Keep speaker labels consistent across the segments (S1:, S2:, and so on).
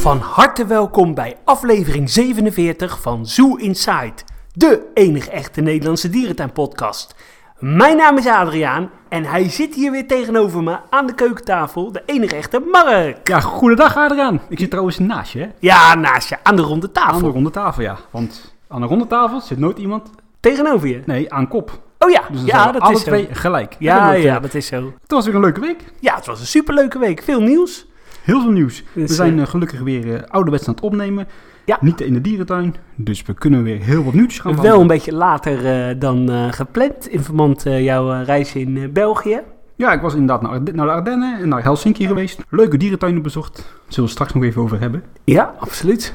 S1: Van harte welkom bij aflevering 47 van Zoo Inside, de enige echte Nederlandse dierentuinpodcast. Mijn naam is Adriaan en hij zit hier weer tegenover me aan de keukentafel, de enige echte Mark.
S2: Ja, goedendag Adriaan. Ik zit trouwens naast je, hè?
S1: Ja, naast je, aan de ronde
S2: Aan de
S1: tafel.
S2: ronde tafel, ja. Want aan de ronde tafel zit nooit iemand,
S1: Tegenover je?
S2: nee, aan kop.
S1: Oh ja,
S2: Dus dan zijn
S1: ja,
S2: we
S1: dat
S2: alle
S1: is
S2: twee
S1: zo.
S2: gelijk. En dan
S1: Ja,
S2: wordt,
S1: ja,
S2: eh,
S1: dat is zo.
S2: Het was weer een leuke week.
S1: Ja, het was een superleuke week. Veel nieuws.
S2: Heel veel nieuws.
S1: Dus,
S2: we zijn
S1: eh,
S2: eh, gelukkig weer eh ouderwets aan het opnemen.
S1: Ja.
S2: Niet in de dierentuin. Dus we kunnen weer heel wat nieuws gaan
S1: Wel een
S2: behandelen.
S1: beetje later eh, dan eh, gepland in verband met jouw eh, reis in eh, België.
S2: Ja, ik was inderdaad naar, Arde- naar de Ardennen en naar Helsinki geweest. Leuke dierentuinen bezocht. Daar zullen we het straks nog even over hebben.
S1: Ja, absoluut.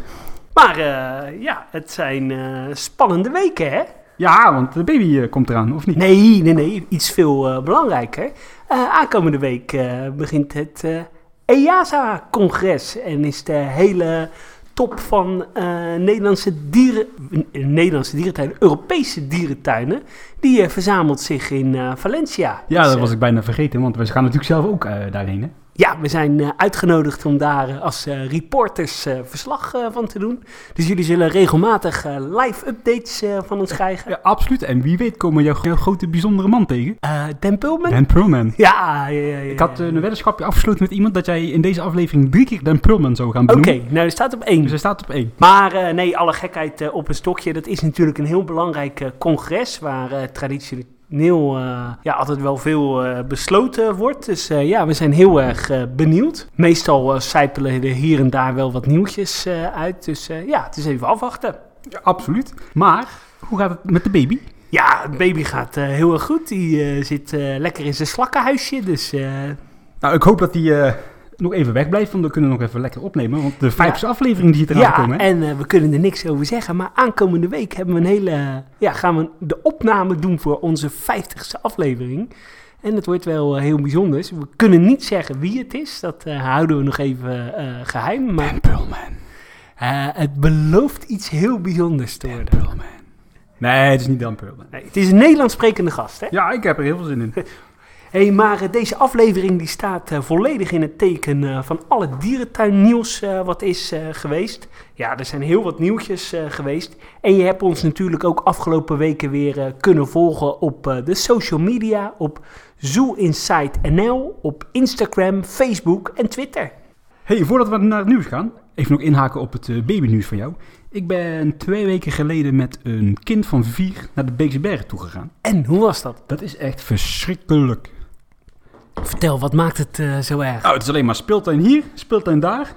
S1: Maar eh, ja, het zijn eh, spannende weken, hè?
S2: Ja, want de baby eh, komt eraan, of niet?
S1: Nee, nee, nee. Iets veel eh, belangrijker. Eh, aankomende week eh, begint het eh, EASA-congres. En is de hele top van eh, Nederlandse, dieren, eh, Nederlandse dierentuinen, Europese dierentuinen, die eh, verzamelt zich in eh, Valencia.
S2: Ja,
S1: Dus,
S2: dat
S1: eh,
S2: was ik bijna vergeten, want we gaan natuurlijk zelf ook eh, daarheen, hè?
S1: Ja, we zijn eh, uitgenodigd om daar eh, als eh, reporters eh, verslag eh, van te doen. Dus jullie zullen regelmatig eh, live updates eh, van ons krijgen.
S2: Ja, absoluut. En wie weet komen we jouw, jouw grote bijzondere man tegen.
S1: Eh, Dan Pulman?
S2: Dan Perlman.
S1: Ja, ja, ja, ja,
S2: Ik had eh,
S1: ja.
S2: een weddenschapje afgesloten met iemand dat jij in deze aflevering drie keer Dan Perlman zou gaan
S1: Oké,
S2: benoemen.
S1: nou, er staat op één.
S2: Dus hij staat op één.
S1: Maar eh, nee, alle gekheid eh, op een stokje. Dat is natuurlijk een heel belangrijk eh, congres waar eh, traditioneel eh, ja, altijd wel veel eh, besloten wordt. Dus eh, ja, we zijn heel erg eh, benieuwd. Meestal eh sijpelen er hier en daar wel wat nieuwtjes eh, uit. Dus eh, ja, het is even afwachten.
S2: Ja, absoluut. Maar, hoe gaat het met de baby?
S1: Ja, het baby gaat eh, heel erg goed. Die eh, zit eh, lekker in zijn slakkenhuisje. Dus eh,
S2: Nou, ik hoop dat hij nog even weg blijft, want we kunnen nog even lekker opnemen. Want de vijfde aflevering die zit eraan
S1: ja,
S2: te komen. hè?
S1: en eh, we kunnen er niks over zeggen. Maar aankomende week hebben we een hele, ja, gaan we de opname doen voor onze 50ste aflevering. En dat wordt wel eh, heel bijzonder. We kunnen niet zeggen wie het is. Dat eh, houden we nog even eh, geheim. Maar
S2: Dan Perlman.
S1: eh, het belooft iets heel bijzonders te worden.
S2: Perlman. Nee, het is niet Dan Perlman.
S1: Nee, het is een Nederlands sprekende gast, hè?
S2: Ja, ik heb er heel veel zin in.
S1: Hé, hey, maar eh, deze aflevering die staat eh, volledig in het teken eh, van alle dierentuinnieuws eh, wat is eh, geweest. Ja, er zijn heel wat nieuwtjes eh, geweest. En je hebt ons natuurlijk ook afgelopen weken weer eh, kunnen volgen op eh, de social media, op Zoo Inside NL, op Instagram, Facebook en Twitter.
S2: Hey, voordat we naar het nieuws gaan, even nog inhaken op het eh, babynieuws van jou. Ik ben twee weken geleden met een kind van vier naar de Beekse Bergen toegegaan.
S1: En hoe was dat?
S2: Dat is echt verschrikkelijk.
S1: Vertel, wat maakt het eh, zo erg?
S2: Nou, het is alleen maar speeltuin hier, speeltuin daar.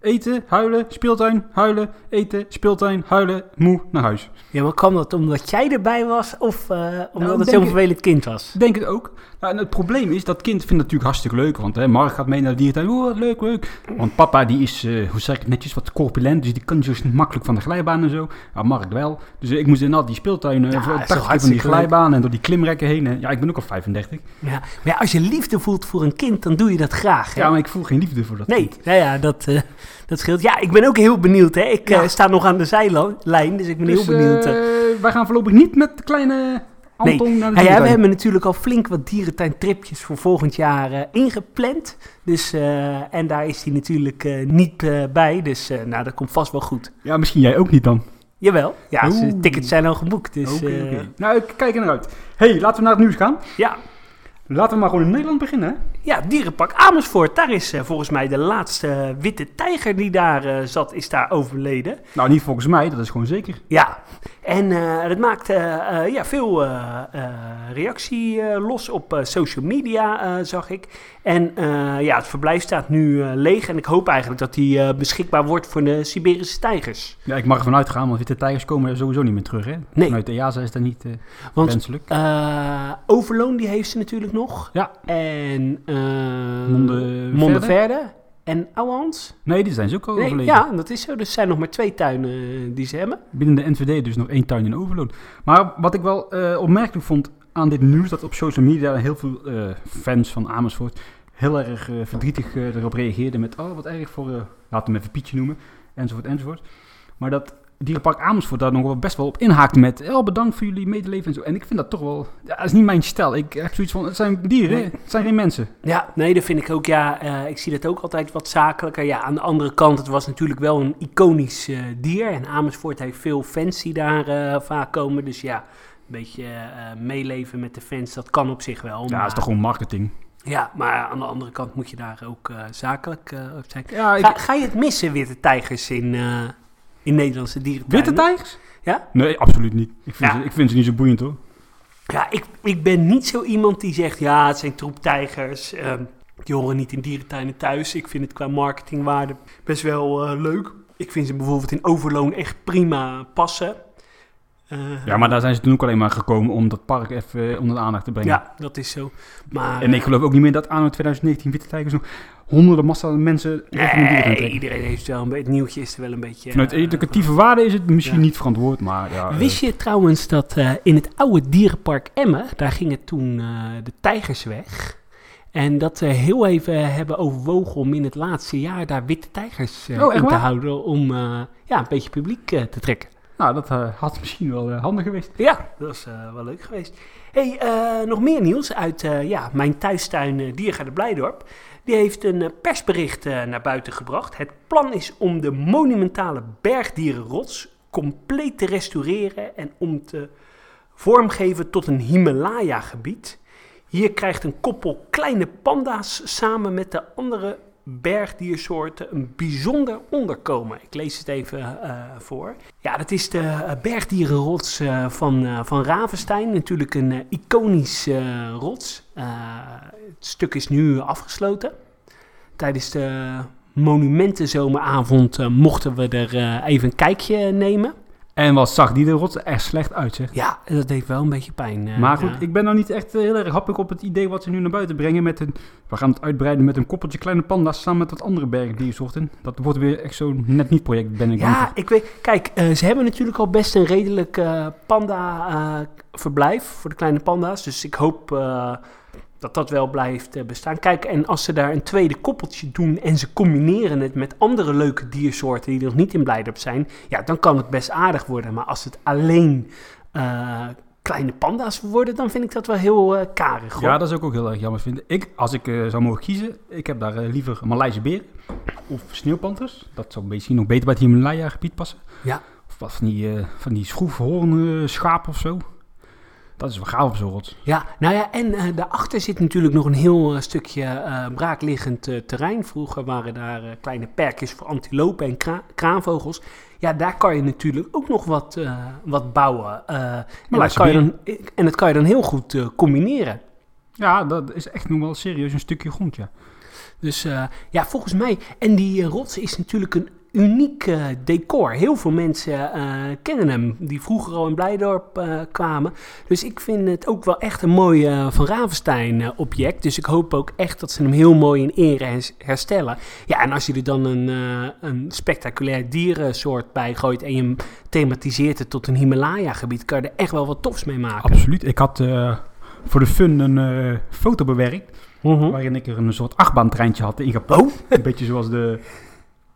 S2: Eten, huilen, speeltuin, huilen, eten, speeltuin, huilen, moe, naar huis.
S1: Ja, maar kwam dat omdat jij erbij was of eh, omdat
S2: Nou,
S1: het
S2: ik denk-
S1: zo'n vervelend kind was?
S2: Ik denk het ook. Nou, en het probleem is, dat kind vindt het natuurlijk hartstikke leuk. Want hè, Mark gaat mee naar de dierentuin. Oh, wat leuk, leuk. Want papa, die is, eh, hoe zeg ik het netjes, wat corpulent. Dus die kan zo makkelijk van de glijbaan en zo. Maar Mark wel. Dus eh, ik moest inderdaad die speeltuin, eh
S1: Ja,
S2: voor
S1: is toch
S2: 80 keer van die
S1: hartstikke leuk.
S2: glijbaan en door die klimrekken heen. En ja, ik ben ook al 35.
S1: Ja, maar ja, als je liefde voelt voor een kind, dan doe je dat graag. Hè?
S2: Ja, maar ik voel geen liefde voor dat
S1: Nee,
S2: kind.
S1: nou ja, dat, eh, dat scheelt. Ja, ik ben ook heel benieuwd. Hè. Ik
S2: Ja.
S1: eh, sta nog aan de zijlijn, dus ik ben
S2: Dus,
S1: heel benieuwd.
S2: eh,
S1: hè.
S2: wij gaan voorlopig niet met de kleine Anton naar de
S1: Nou ja, we
S2: dierentuin.
S1: hebben natuurlijk al flink wat dierentuintripjes voor volgend jaar eh, ingepland. Dus, eh, en daar is hij natuurlijk eh, niet eh, bij. Dus eh, nou, dat komt vast wel goed.
S2: Ja, misschien jij ook niet dan.
S1: Jawel, ja,
S2: Oeh.
S1: de tickets zijn al geboekt. Dus,
S2: Oké,
S1: eh,
S2: oké. Nou, ik kijk er naar uit. hey, laten we naar het nieuws gaan.
S1: ja.
S2: Laten we maar gewoon in Nederland beginnen. Hè?
S1: ja, dierenpark Amersfoort. Daar is eh, volgens mij de laatste eh, witte tijger die daar eh, zat, is daar overleden.
S2: Nou, niet volgens mij, dat is gewoon zeker.
S1: Ja, en eh, dat maakt eh, eh, ja, veel eh, eh, reactie eh, los op eh, social media, eh, zag ik. En eh, ja, het verblijf staat nu eh, leeg en ik hoop eigenlijk dat die eh, beschikbaar wordt voor de Siberische tijgers.
S2: Ja, ik mag ervan uitgaan, want witte tijgers komen er sowieso niet meer terug. Hè?
S1: Nee.
S2: Vanuit de EASA is dat niet eh
S1: Want-
S2: wenselijk.
S1: Eh, Overloon, die heeft ze natuurlijk nog.
S2: Ja.
S1: En eh
S2: Monde-
S1: Mondeverde en Ouwans.
S2: Nee, die zijn ze ook al
S1: Nee,
S2: Oh, overleden.
S1: ja, dat is zo. Dus er zijn nog maar twee tuinen eh, die ze hebben.
S2: Binnen de NVD dus nog één tuin in Overloon. Maar wat ik wel eh, opmerkelijk vond aan dit nieuws, dat op social media heel veel eh, fans van Amersfoort heel erg eh, verdrietig eh, erop reageerden met, oh wat erg voor, eh, laten we hem even Pietje noemen, enzovoort enzovoort. Maar dat Dierenpark Amersfoort daar nog wel best wel op inhaakt met... Oh, bedankt voor jullie medeleven en zo. En ik vind dat toch wel... Ja, dat is niet mijn stijl. Ik heb zoiets van, het zijn dieren,
S1: Nee.
S2: het zijn geen mensen.
S1: Ja, nee, dat vind ik ook. Ja, eh, ik zie dat ook altijd wat zakelijker. Ja, aan de andere kant, het was natuurlijk wel een iconisch eh, dier. En Amersfoort heeft veel fans die daar eh, vaak komen. Dus ja, een beetje eh, meeleven met de fans, dat kan op zich wel.
S2: Ja,
S1: maar,
S2: dat is toch gewoon marketing.
S1: ja, maar aan de andere kant moet je daar ook eh, zakelijk eh, op zijn.
S2: Ja,
S1: Ga, ga je het missen, witte tijgers in, eh, in Nederlandse dierentuinen?
S2: Witte tijgers?
S1: Ja?
S2: Nee, absoluut niet. Ik vind,
S1: Ja.
S2: ze, ik vind ze niet zo boeiend hoor.
S1: Ja, ik, ik ben niet zo iemand die zegt, ja, het zijn troeptijgers. ehm, die horen niet in dierentuinen thuis. Ik vind het qua marketingwaarde best wel eh, leuk. Ik vind ze bijvoorbeeld in Overloon echt prima passen. Eh,
S2: Ja, maar daar zijn ze toen ook alleen maar gekomen om dat park even eh, onder de aandacht te brengen.
S1: ja, dat is zo. Maar,
S2: En ik geloof ook niet meer dat anno 2019 Witte Tijgers nog honderden massa mensen weg van hun dieren gaan
S1: eh, nee,
S2: trekken.
S1: iedereen heeft wel een beetje... Het nieuwtje is er wel een beetje...
S2: Vanuit
S1: eh,
S2: educatieve waarde is het misschien
S1: ja.
S2: niet verantwoord, maar ja. eh,
S1: Wist je trouwens dat eh, in het oude dierenpark Emmen, daar gingen toen eh, de tijgers weg. En dat ze heel even hebben overwogen om in het laatste jaar daar witte tijgers eh,
S2: Oh, echt
S1: in te
S2: waar?
S1: houden. Om eh, ja, een beetje publiek eh, te trekken.
S2: Nou, dat eh, had misschien wel eh, handig geweest.
S1: Ja, dat is eh, wel leuk geweest. hey, eh, nog meer nieuws uit eh, ja, mijn thuistuin eh Diergaarde Blijdorp. Die heeft een eh, persbericht eh, naar buiten gebracht. Het plan is om de monumentale bergdierenrots compleet te restaureren en om te vormgeven tot een Himalaya-gebied. Hier krijgt een koppel kleine panda's samen met de andere bergdiersoorten een bijzonder onderkomen. Ik lees het even eh, voor. Ja, dat is de eh, bergdierenrots eh, van, eh, van Ravenstein. Natuurlijk een eh, iconisch eh, rots. Eh, het stuk is nu afgesloten. Tijdens de monumentenzomeravond eh, mochten we er eh, even een kijkje nemen.
S2: En wat zag die de rots er slecht uit, zeg.
S1: Ja, dat deed wel een beetje pijn. eh,
S2: Maar goed,
S1: ja.
S2: ik ben nou niet echt eh, heel erg happig op het idee wat ze nu naar buiten brengen met een... We gaan het uitbreiden met een koppeltje kleine panda's samen met wat andere bergdiersoorten. Dat wordt weer echt zo'n net niet project, ben ik bang
S1: Ja,
S2: voor.
S1: ik weet. Kijk, eh, ze hebben natuurlijk al best een redelijk eh, panda-verblijf voor de kleine panda's. Dus ik hoop eh, dat dat wel blijft eh, bestaan. Kijk, en als ze daar een tweede koppeltje doen en ze combineren het met andere leuke diersoorten die er nog niet in Blijdorp zijn, ja, dan kan het best aardig worden. Maar als het alleen eh, kleine panda's worden, dan vind ik dat wel heel eh, karig. hoor.
S2: Ja, dat zou ik ook heel erg jammer vinden. Ik, als ik eh, zou mogen kiezen, ik heb daar eh, liever Maleise beren of sneeuwpanters. Dat zou misschien nog beter bij het Himalaya-gebied passen.
S1: Ja.
S2: Of wat van die, eh van die schroefhoorn eh, schaap of zo. Dat is wel gaaf op zo'n rots.
S1: Ja, nou ja, en eh, daarachter zit natuurlijk nog een heel eh, stukje eh, braakliggend eh, terrein. Vroeger waren daar eh, kleine perkjes voor antilopen en kra- kraanvogels. Ja, daar kan je natuurlijk ook nog wat, eh, wat bouwen. Eh, en, dat
S2: lijkt
S1: kan je
S2: me
S1: dan, eh, en dat kan je dan heel goed eh, combineren.
S2: Ja, dat is echt nog wel serieus een stukje grond, ja.
S1: Dus eh, ja, volgens mij. En die eh, rots is natuurlijk een uniek eh, decor. Heel veel mensen eh, kennen hem, die vroeger al in Blijdorp eh, kwamen. Dus ik vind het ook wel echt een mooi eh, Van Ravenstein-object. dus ik hoop ook echt dat ze hem heel mooi in ere hers- herstellen. Ja, en als je er dan een, eh, een spectaculair dierensoort bij gooit en je hem thematiseert het tot een Himalaya-gebied, kan je er echt wel wat tofs mee maken.
S2: Absoluut. Ik had eh, voor de fun een eh, foto bewerkt
S1: Mhm.
S2: waarin ik er een soort achtbaantreintje had ingepakt.
S1: Oh,
S2: een beetje zoals de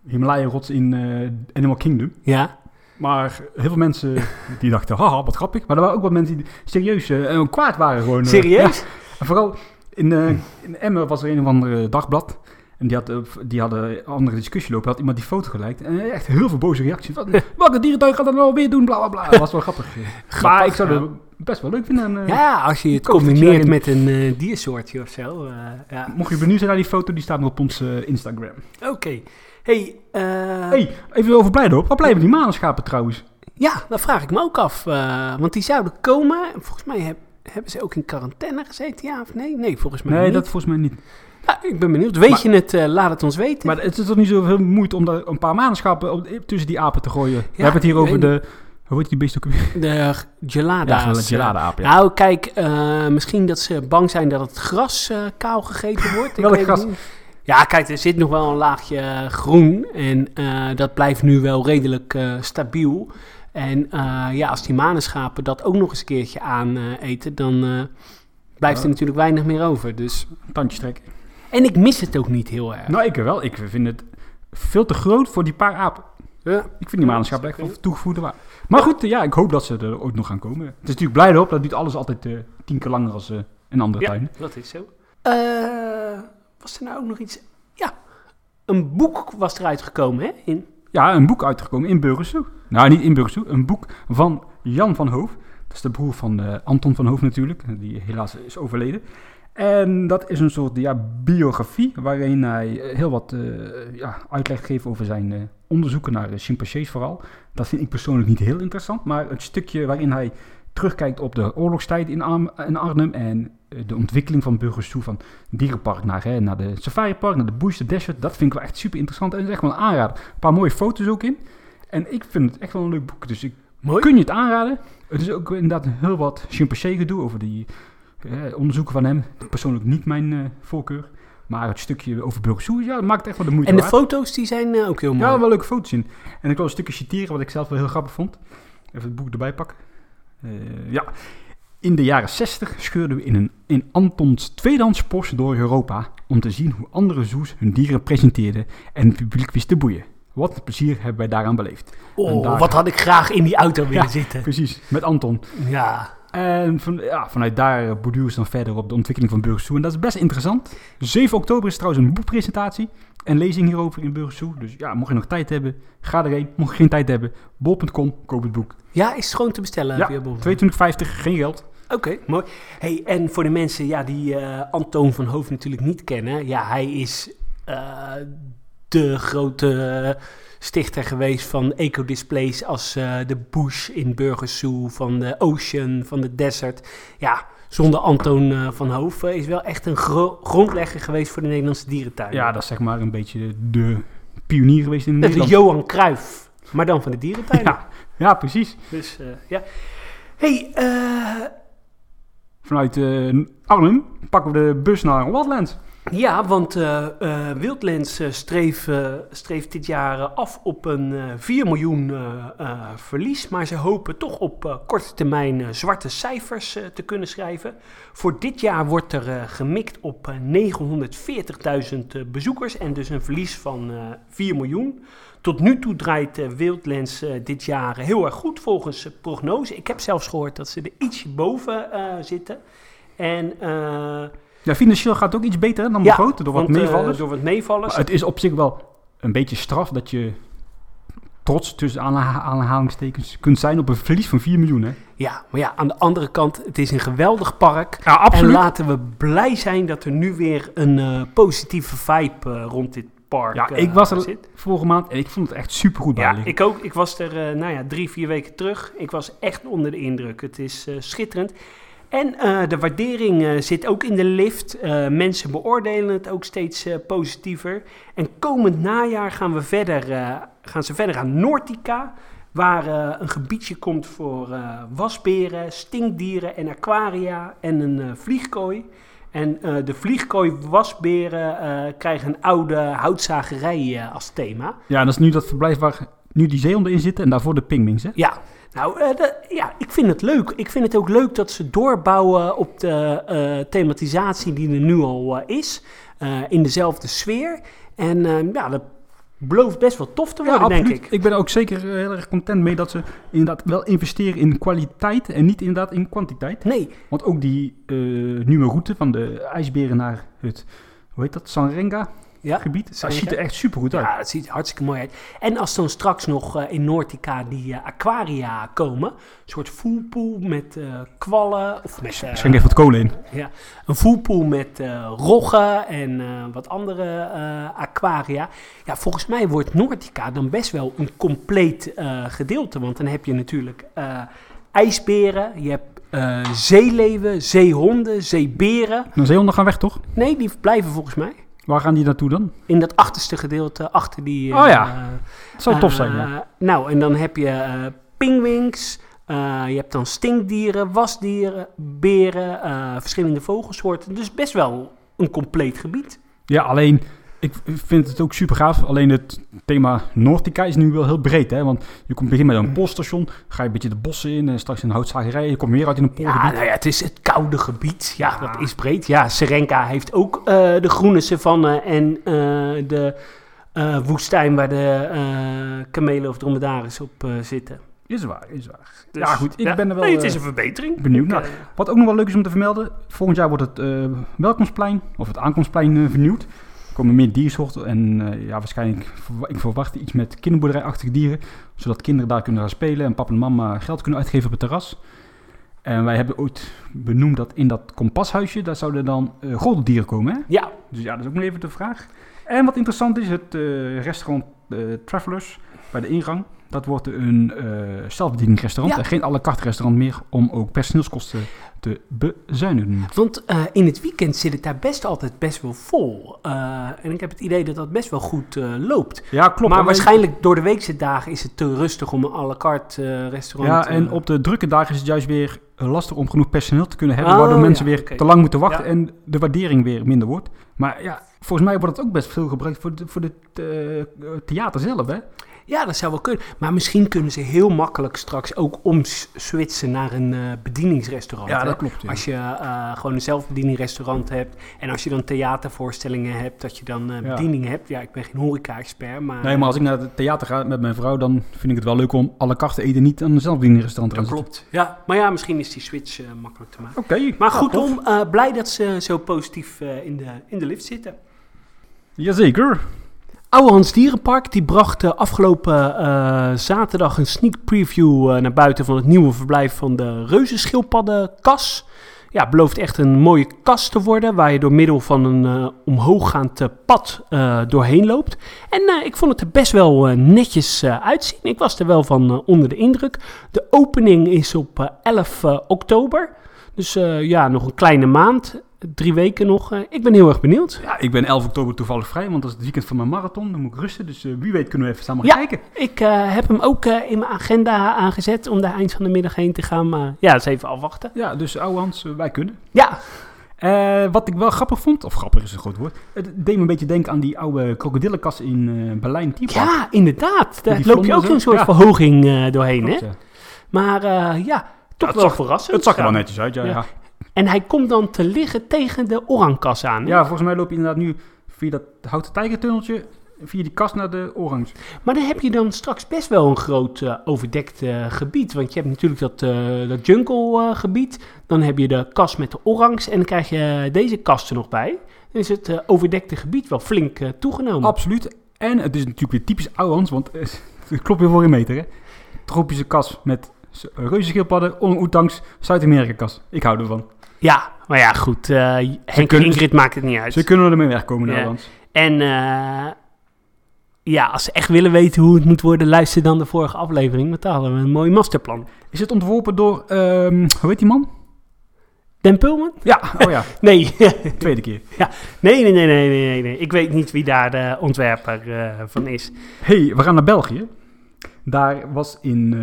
S2: Himalaya-rots in eh, Animal Kingdom.
S1: ja.
S2: Maar heel veel mensen die dachten, haha, wat grappig. Maar er waren ook wat mensen die serieus eh, en kwaad waren gewoon. eh.
S1: Serieus? Hm.
S2: Ja, en vooral in, eh in Emmen was er een of andere dagblad. En die, had, eh, die hadden een andere discussie lopen. Had iemand die foto gelijk. En eh, echt heel veel boze reacties. Wat, welke dierentuin gaat dat nou weer doen? Bla, bla, bla. Dat was wel grappig. maar ik zou
S1: ja.
S2: het best wel leuk vinden. En, eh,
S1: Ja, als je het
S2: koopt het
S1: combineert
S2: daarin.
S1: met een eh, diersoortje of zo. eh, ja.
S2: Mocht je benieuwd zijn naar die foto, die staat nog op ons eh, Instagram.
S1: Oké. Hey, eh,
S2: hey, even over Blijdorp. Waar blijven die manenschapen trouwens?
S1: ja, dat vraag ik me ook af. eh, want die zouden komen. Volgens mij heb- hebben ze ook in quarantaine gezeten, ja of nee? Nee, volgens mij
S2: Nee,
S1: niet.
S2: dat volgens mij niet.
S1: Ah, ik ben benieuwd. Weet
S2: Maar-
S1: je het? eh, laat het ons weten.
S2: Maar het is toch niet zoveel moeite om daar een paar manenschappen op, eh, tussen die apen te gooien. We hebben het hier
S1: ik
S2: over
S1: weet
S2: de... Hoe heet die beest ook weer?
S1: de eh, g- gelada's.
S2: Ja, eh, de geladeaap, ja.
S1: Nou, kijk, eh, misschien dat ze bang zijn dat het gras eh, kaal gegeten wordt. Ik
S2: Welk
S1: weet het
S2: gras?
S1: niet. Ja, kijk, er zit nog wel een laagje eh, groen en eh, dat blijft nu wel redelijk eh, stabiel. En eh, ja, als die manenschapen dat ook nog eens een keertje aan eh, eten, dan eh, blijft er
S2: Ja.
S1: natuurlijk weinig meer over. Dus.
S2: Tandjes trekken.
S1: En ik mis het ook niet heel erg.
S2: Nou, ik wel. Ik vind het veel te groot voor die paar apen.
S1: Oké, Ja.
S2: Ik vind die maanschap echt van toegevoegde waarde. Maar goed, eh, ja, ik hoop dat ze er ooit nog gaan komen. Het is natuurlijk blij erop, dat duurt alles altijd eh, tien keer langer als eh, een andere
S1: Ja.
S2: tuin.
S1: Dat is zo. Eh, was er nou ook nog iets? Ja, een boek was eruit gekomen, hè? In,
S2: Ja, een boek uitgekomen in Burgersoe. Nou, niet in Burgersoe, een boek van Jan van Hoof. Dat is de broer van eh, Anton van Hoof natuurlijk, die helaas is overleden. En dat is een soort ja, biografie waarin hij eh, heel wat eh, ja, uitleg geeft over zijn eh, onderzoeken naar eh, chimpansees vooral. Dat vind ik persoonlijk niet heel interessant, maar het stukje waarin hij terugkijkt op de oorlogstijd in, Arm- in Arnhem en eh, de ontwikkeling van Burgersoe van dierenpark naar, hè, naar de safaripark, naar de bush, de desert. Dat vind ik wel echt super interessant en het is echt wel een aanrader. Een paar mooie foto's ook in. En ik vind het echt wel een leuk boek, dus ik
S1: Mooi.
S2: kun je het aanraden. Het is ook inderdaad heel wat chimpansee gedoe over die eh, onderzoeken van hem. Persoonlijk niet mijn eh, voorkeur. Maar het stukje over Burgersoe, ja, dat maakt echt wel de moeite
S1: en de
S2: waard.
S1: foto's die zijn eh, ook heel mooi.
S2: Ja, wel leuke foto's in. En ik wil een stukje citeren wat ik zelf wel heel grappig vond. Even het boek erbij pakken. Eh, ja. In de jaren 60 scheurden we in, een, in Antons tweedehands Porsche door Europa om te zien hoe andere zoes hun dieren presenteerden en het publiek wist te boeien. Wat een plezier hebben wij daaraan beleefd. en
S1: oh,
S2: daar-
S1: wat had ik graag in die auto willen zitten.
S2: Precies, met Anton.
S1: Ja.
S2: En Ehm, van, ja, vanuit daar borduren ze dan verder op de ontwikkeling van Burgersoe. En dat is best interessant. 7 oktober is trouwens een boekpresentatie en lezing hierover in Burgersoe. Dus ja, mocht je nog tijd hebben, ga erheen. Mocht je geen tijd hebben, bol.com, koop het boek.
S1: Ja, is het gewoon te bestellen
S2: Ja,
S1: via Bol.
S2: 22,50, geen geld.
S1: Oké, mooi. Hey, en voor de mensen ja, die eh, Antoon van Hoof natuurlijk niet kennen. Ja, hij is eh, de grote stichter geweest van ecodisplays als eh, de Bush in Burgersoe, van de Ocean, van de Desert. Ja, zonder Antoon eh, van Hoof eh, is wel echt een gro- grondlegger geweest voor de Nederlandse dierentuin.
S2: Ja, dat is zeg maar een beetje de pionier geweest in
S1: dat is de
S2: Nederland.
S1: Johan Cruijff, maar dan van de dierentuin.
S2: Ja, ja, precies.
S1: Dus eh, ja. Hey, eh,
S2: Vanuit eh, Arnhem pakken we de bus naar Wildlands.
S1: Ja, want eh eh, Wildlands eh, streef, eh, streeft dit jaar eh, af op een eh 4 miljoen eh, eh, verlies. Maar ze hopen toch op eh, korte termijn eh, zwarte cijfers eh, te kunnen schrijven. Voor dit jaar wordt er eh, gemikt op eh, 940.000 eh, bezoekers en dus een verlies van eh 4 miljoen. Tot nu toe draait eh, Wildlands eh, dit jaar heel erg goed volgens eh, prognose. Ik heb zelfs gehoord dat ze er ietsje boven eh, zitten. En... eh,
S2: Ja, financieel gaat het ook iets beter hè, dan begroot door wat
S1: want, eh,
S2: meevallers.
S1: door wat meevallers.
S2: Maar het is op zich wel een beetje straf dat je trots tussen aanha- aanhalingstekens kunt zijn op een verlies van 4 miljoen. Hè?
S1: Ja, maar ja, aan de andere kant, het is een geweldig park.
S2: Ja,
S1: En laten we blij zijn dat er nu weer een eh, positieve vibe eh, rond dit park
S2: Ja,
S1: eh,
S2: ik was er
S1: zit.
S2: vorige maand en ik vond het echt supergoed bij
S1: Ja,
S2: liggen.
S1: ik ook. Ik was er eh, nou ja, drie, vier weken terug. Ik was echt onder de indruk. Het is eh, schitterend. En eh, de waardering eh, zit ook in de lift. Eh, mensen beoordelen het ook steeds eh, positiever. En komend najaar gaan, we verder, eh, gaan ze verder aan Nortica. Waar eh, een gebiedje komt voor eh, wasberen, stinkdieren en aquaria en een eh, vliegkooi. En eh, de vliegkooi wasberen eh, krijgen een oude houtzagerij eh, als thema.
S2: Ja, dat is nu dat verblijf waar nu die zeehonden in zitten en daarvoor de pingwings. Hè?
S1: Ja, nou, eh, de- ja, ik vind het leuk. Ik vind het ook leuk dat ze doorbouwen op de eh, thematisatie die er nu al eh, is. eh, in dezelfde sfeer. En eh, ja, dat belooft best wel tof te worden, denk
S2: absoluut.
S1: ik.
S2: ben er ook zeker eh, heel erg content mee dat ze inderdaad wel investeren in kwaliteit en niet inderdaad in kwantiteit.
S1: Nee,
S2: Want ook die eh, nieuwe route van de ijsberen naar het, hoe heet dat, Sanrenga
S1: ja.
S2: gebied, dat
S1: Sanrenga.
S2: ziet er echt supergoed uit.
S1: Ja, het ziet er hartstikke mooi uit. En als dan straks nog eh, in Nortica die eh, aquaria komen. Een soort voelpoel met eh, kwallen. Of met, eh,
S2: Schenk even wat kolen in.
S1: Ja, een voerpoel met eh, roggen en eh, wat andere eh, aquaria. Ja, volgens mij wordt Nordica dan best wel een compleet eh, gedeelte. Want dan heb je natuurlijk eh, ijsberen, je hebt eh, zeeleeuwen, zeehonden, zeeberen.
S2: Nou, zeehonden gaan weg toch?
S1: Nee, die blijven volgens mij
S2: Waar gaan die naartoe dan?
S1: in dat achterste gedeelte, achter die... eh,
S2: Oh ja.
S1: eh,
S2: Het zou tof zijn, ja.
S1: eh, Nou, en dan heb je eh pingwings, eh, je hebt dan stinkdieren, wasdieren, beren, eh, verschillende vogelsoorten. Dus best wel een compleet gebied.
S2: Ja, alleen, ik vind het ook super gaaf. Alleen het thema Noordica is nu wel heel breed, hè. Want je komt begin met een polstation, ga je een beetje de bossen in en straks in een houtzagerij. Je komt weer uit in een
S1: Ja,
S2: poolgebied.
S1: nou ja, het is het koude gebied. Ja, dat is breed. Ja, Serenka heeft ook eh, de groene savanne en eh, de... eh, eh, woestijn waar de eh, kamelen of dromedaris op eh, zitten.
S2: Is waar, is waar.
S1: Dus,
S2: ja, goed. Ik ben er wel
S1: Nee, het
S2: eh,
S1: is een verbetering.
S2: benieuwd
S1: Ik,
S2: naar.
S1: eh,
S2: Wat ook nog wel leuk is om te vermelden, volgend jaar wordt het eh, welkomstplein, of het aankomstplein, eh, vernieuwd. Er komen meer diersoorten en eh, ja, waarschijnlijk, verwa- ik verwacht iets met kinderboerderijachtige dieren. Zodat kinderen daar kunnen gaan spelen en papa en mama geld kunnen uitgeven op het terras. En wij hebben ooit benoemd dat in dat kompashuisje, daar zouden dan eh gordeldieren komen. Hè?
S1: ja,
S2: Dus ja, dat is ook nog even de vraag. En wat interessant is, het eh, restaurant eh, Travelers bij de ingang. Dat wordt een eh zelfbediening restaurant
S1: Ja.
S2: en geen à la carte restaurant meer om ook personeelskosten te bezuinigen.
S1: want eh, in het weekend zit het daar best altijd best wel vol. Eh, en ik heb het idee dat dat best wel goed eh, loopt.
S2: Ja, klopt.
S1: maar
S2: alleen-
S1: waarschijnlijk door de weekse dagen is het te rustig om een à la carte eh, restaurant...
S2: Ja, en
S1: eh,
S2: op de drukke dagen is het juist weer eh, lastig om genoeg personeel te kunnen hebben,
S1: Oh,
S2: waardoor mensen
S1: ja,
S2: weer
S1: oké.
S2: te lang moeten wachten
S1: Ja.
S2: en de waardering weer minder wordt. Maar ja, volgens mij wordt het ook best veel gebruikt voor, de- voor het theater zelf, hè?
S1: Ja, dat zou wel kunnen. Maar misschien kunnen ze heel makkelijk straks ook omswitchen naar een eh, bedieningsrestaurant. hè?
S2: klopt.
S1: Als je eh, gewoon een zelfbedieningrestaurant hebt en als je dan theatervoorstellingen hebt, dat je dan eh,
S2: Ja.
S1: bediening hebt. Ja, ik ben geen horeca-expert, maar...
S2: Nee, maar als ik naar het theater ga met mijn vrouw, dan vind ik het wel leuk om alle kachten eten niet aan een zelfbedieningsrestaurant te
S1: Dat
S2: gaan
S1: klopt. Ja, maar ja, misschien is die switch eh, makkelijk te maken.
S2: zitten. Oké.
S1: Maar goed,
S2: nou, tof.
S1: om eh, blij dat ze zo positief eh, in, de, in de lift zitten.
S2: Jazeker.
S1: Oude Hans Dierenpark die bracht eh, afgelopen eh, zaterdag een sneak preview eh, naar buiten van het nieuwe verblijf van de reuzenschildpaddenkas. Ja, het belooft echt een mooie kas te worden waar je door middel van een eh, omhooggaand eh, pad eh, doorheen loopt. En eh, ik vond het er best wel eh, netjes eh, uitzien. Ik was er wel van eh, onder de indruk. De opening is op eh, 11 eh, oktober. Dus eh, ja, nog een kleine maand. Drie weken nog. Eh, ik ben heel erg benieuwd.
S2: Ja, ik ben 11 oktober toevallig vrij, want dat is het weekend van mijn marathon. Dan moet ik rusten, dus eh, wie weet kunnen we even samen
S1: Ja.
S2: gaan kijken.
S1: Ik eh, heb hem ook eh, in mijn agenda aangezet om daar eind van de middag heen te gaan. Maar ja, eens even afwachten.
S2: Ja, dus ouwe Hans, eh, wij kunnen.
S1: Ja,
S2: Eh, wat ik wel grappig vond, of grappig is een groot woord, het deed me een beetje denken aan die oude krokodillenkas in eh Berlijn Tiefland.
S1: ja inderdaad. Daar
S2: Die
S1: loop je ook
S2: vlonders,
S1: een soort
S2: ja.
S1: verhoging eh, doorheen. Hè?
S2: Klopt, ja.
S1: Maar eh, ja, toch
S2: het
S1: wel
S2: zag-
S1: verrassend.
S2: Het zag er wel netjes uit, ja.
S1: Ja.
S2: ja.
S1: En hij komt dan te liggen tegen de orangkas aan. hè?
S2: Ja, volgens mij loop je inderdaad nu via dat houten tijgertunneltje, via die kast naar de orangs.
S1: Maar dan heb je dan straks best wel een groot eh, overdekt eh, gebied. Want je hebt natuurlijk dat, eh, dat jungle eh, gebied. Dan heb je de kas met de orangs. En dan krijg je deze kast er nog bij. Dan is het eh, overdekte gebied wel flink eh, toegenomen.
S2: Absoluut. En het is natuurlijk weer typisch Ouwans, want eh, het klopt weer voor een meter, hè. Tropische kas met s- reuzenschildpadden, orang-oetangs, Zuid-Amerika kas. Ik hou ervan.
S1: Ja, maar ja, goed. eh Henk en
S2: kunnen-
S1: Ingrid maakt het niet uit.
S2: Ze kunnen ermee wegkomen,
S1: Ja.
S2: Ouwans.
S1: En eh, ja, als ze echt willen weten hoe het moet worden, luister dan de vorige aflevering. Want daar hadden we een mooi masterplan.
S2: Is het ontworpen door, ehm, hoe heet die man?
S1: Dan Pulman?
S2: Ja, oh ja,
S1: Nee.
S2: tweede keer.
S1: nee, nee, nee, nee, nee, nee, nee. Ik weet niet wie daar de ontwerper eh, van is.
S2: hey, we gaan naar België. Daar was in,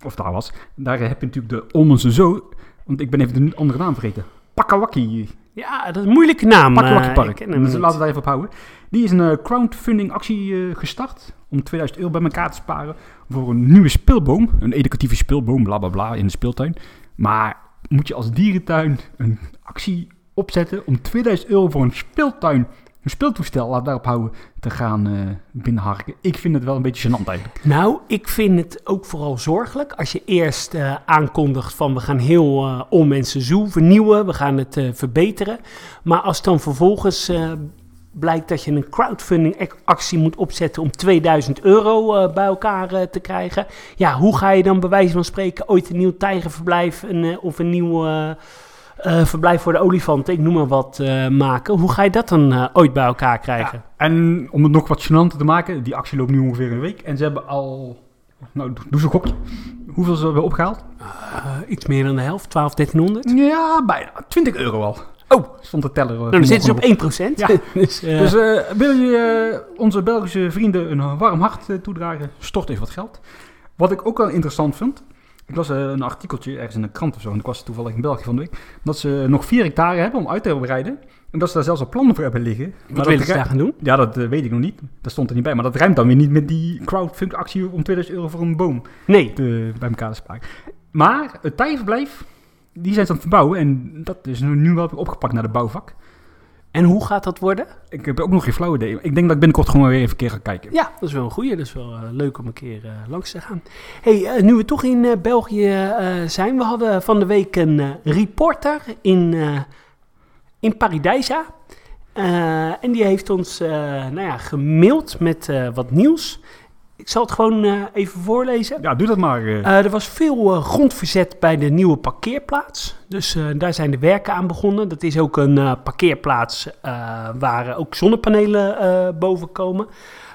S2: eh, of daar was, daar heb je natuurlijk de Olmense Zoo, want ik ben even de andere naam vergeten. Pakawakkie
S1: Ja, dat is een moeilijke naam. eh, ik
S2: Pakwakkepark.
S1: ken hem
S2: dus
S1: niet.
S2: laten we daar even op houden. Die is een eh, crowdfunding actie eh, gestart om 2000 euro bij elkaar te sparen voor een nieuwe speelboom. Een educatieve speelboom, bla bla bla, in de speeltuin. Maar moet je als dierentuin een actie opzetten om 2000 euro voor een speeltuin, een speeltoestel, laat daarop houden, te gaan eh, binnenharken? Ik vind het wel een beetje gênant eigenlijk.
S1: Nou, ik vind het ook vooral zorgelijk als je eerst eh, aankondigt van we gaan heel eh om mensen zoo vernieuwen, we gaan het eh, verbeteren. Maar als dan vervolgens eh, blijkt dat je een crowdfunding ac- actie moet opzetten om 2000 euro eh, bij elkaar eh, te krijgen. Ja, hoe ga je dan bij wijze van spreken ooit een nieuw tijgerverblijf een, eh, of een nieuw eh, eh, verblijf voor de olifanten, ik noem maar wat, eh, maken? Hoe ga je dat dan eh, ooit bij elkaar krijgen?
S2: En om het nog wat gênanter te maken, die actie loopt nu ongeveer een week en ze hebben al, nou doe- doe ze een gokje, hoeveel ze hebben opgehaald?
S1: Eh, iets meer dan de helft, 12, 1300?
S2: Ja, bijna. 20 euro al.
S1: Oh.
S2: Stond de teller. eh,
S1: Nou, dan
S2: vanmorgen
S1: zitten
S2: op.
S1: ze op 1%.
S2: Ja.
S1: dus, eh,
S2: Dus eh, wil je eh, onze Belgische vrienden een warm hart eh, toedragen, stort even wat geld. Wat ik ook wel interessant vind, ik las eh, een artikeltje ergens in de krant of zo, en ik was toevallig in België van de week, dat ze nog 4 hectare hebben om uit te breiden. En dat ze daar zelfs al plannen voor hebben liggen.
S1: wat
S2: dat
S1: willen ze
S2: ru-
S1: daar gaan doen?
S2: Ja, dat eh, weet ik nog niet. Dat stond er niet bij. Maar dat ruimt dan weer niet met die crowdfunding actie om 2000 euro voor een boom
S1: Nee.
S2: te- eh, bij elkaar te sprake. Maar het tijgerverblijf, die zijn ze aan het verbouwen. En dat is nu nu wel weer opgepakt naar de bouwvak.
S1: En hoe gaat dat worden?
S2: Ik heb ook nog geen flauw idee. Ik denk dat ik binnenkort gewoon weer even een keer ga kijken.
S1: Ja, dat is wel een goeie. Dat is wel eh, leuk om een keer eh, langs te gaan. hey, eh, nu we toch in eh, België eh, zijn. We hadden van de week een eh, reporter in, eh in Paradijsa. Eh, en die heeft ons eh, nou ja, gemaild met eh, wat nieuws. Ik zal het gewoon eh, even voorlezen.
S2: Ja, doe dat maar. eh.
S1: Eh, er was veel eh, grondverzet bij de nieuwe parkeerplaats. Dus eh, daar zijn de werken aan begonnen. Dat is ook een eh, parkeerplaats eh, waar eh, ook zonnepanelen eh, boven komen.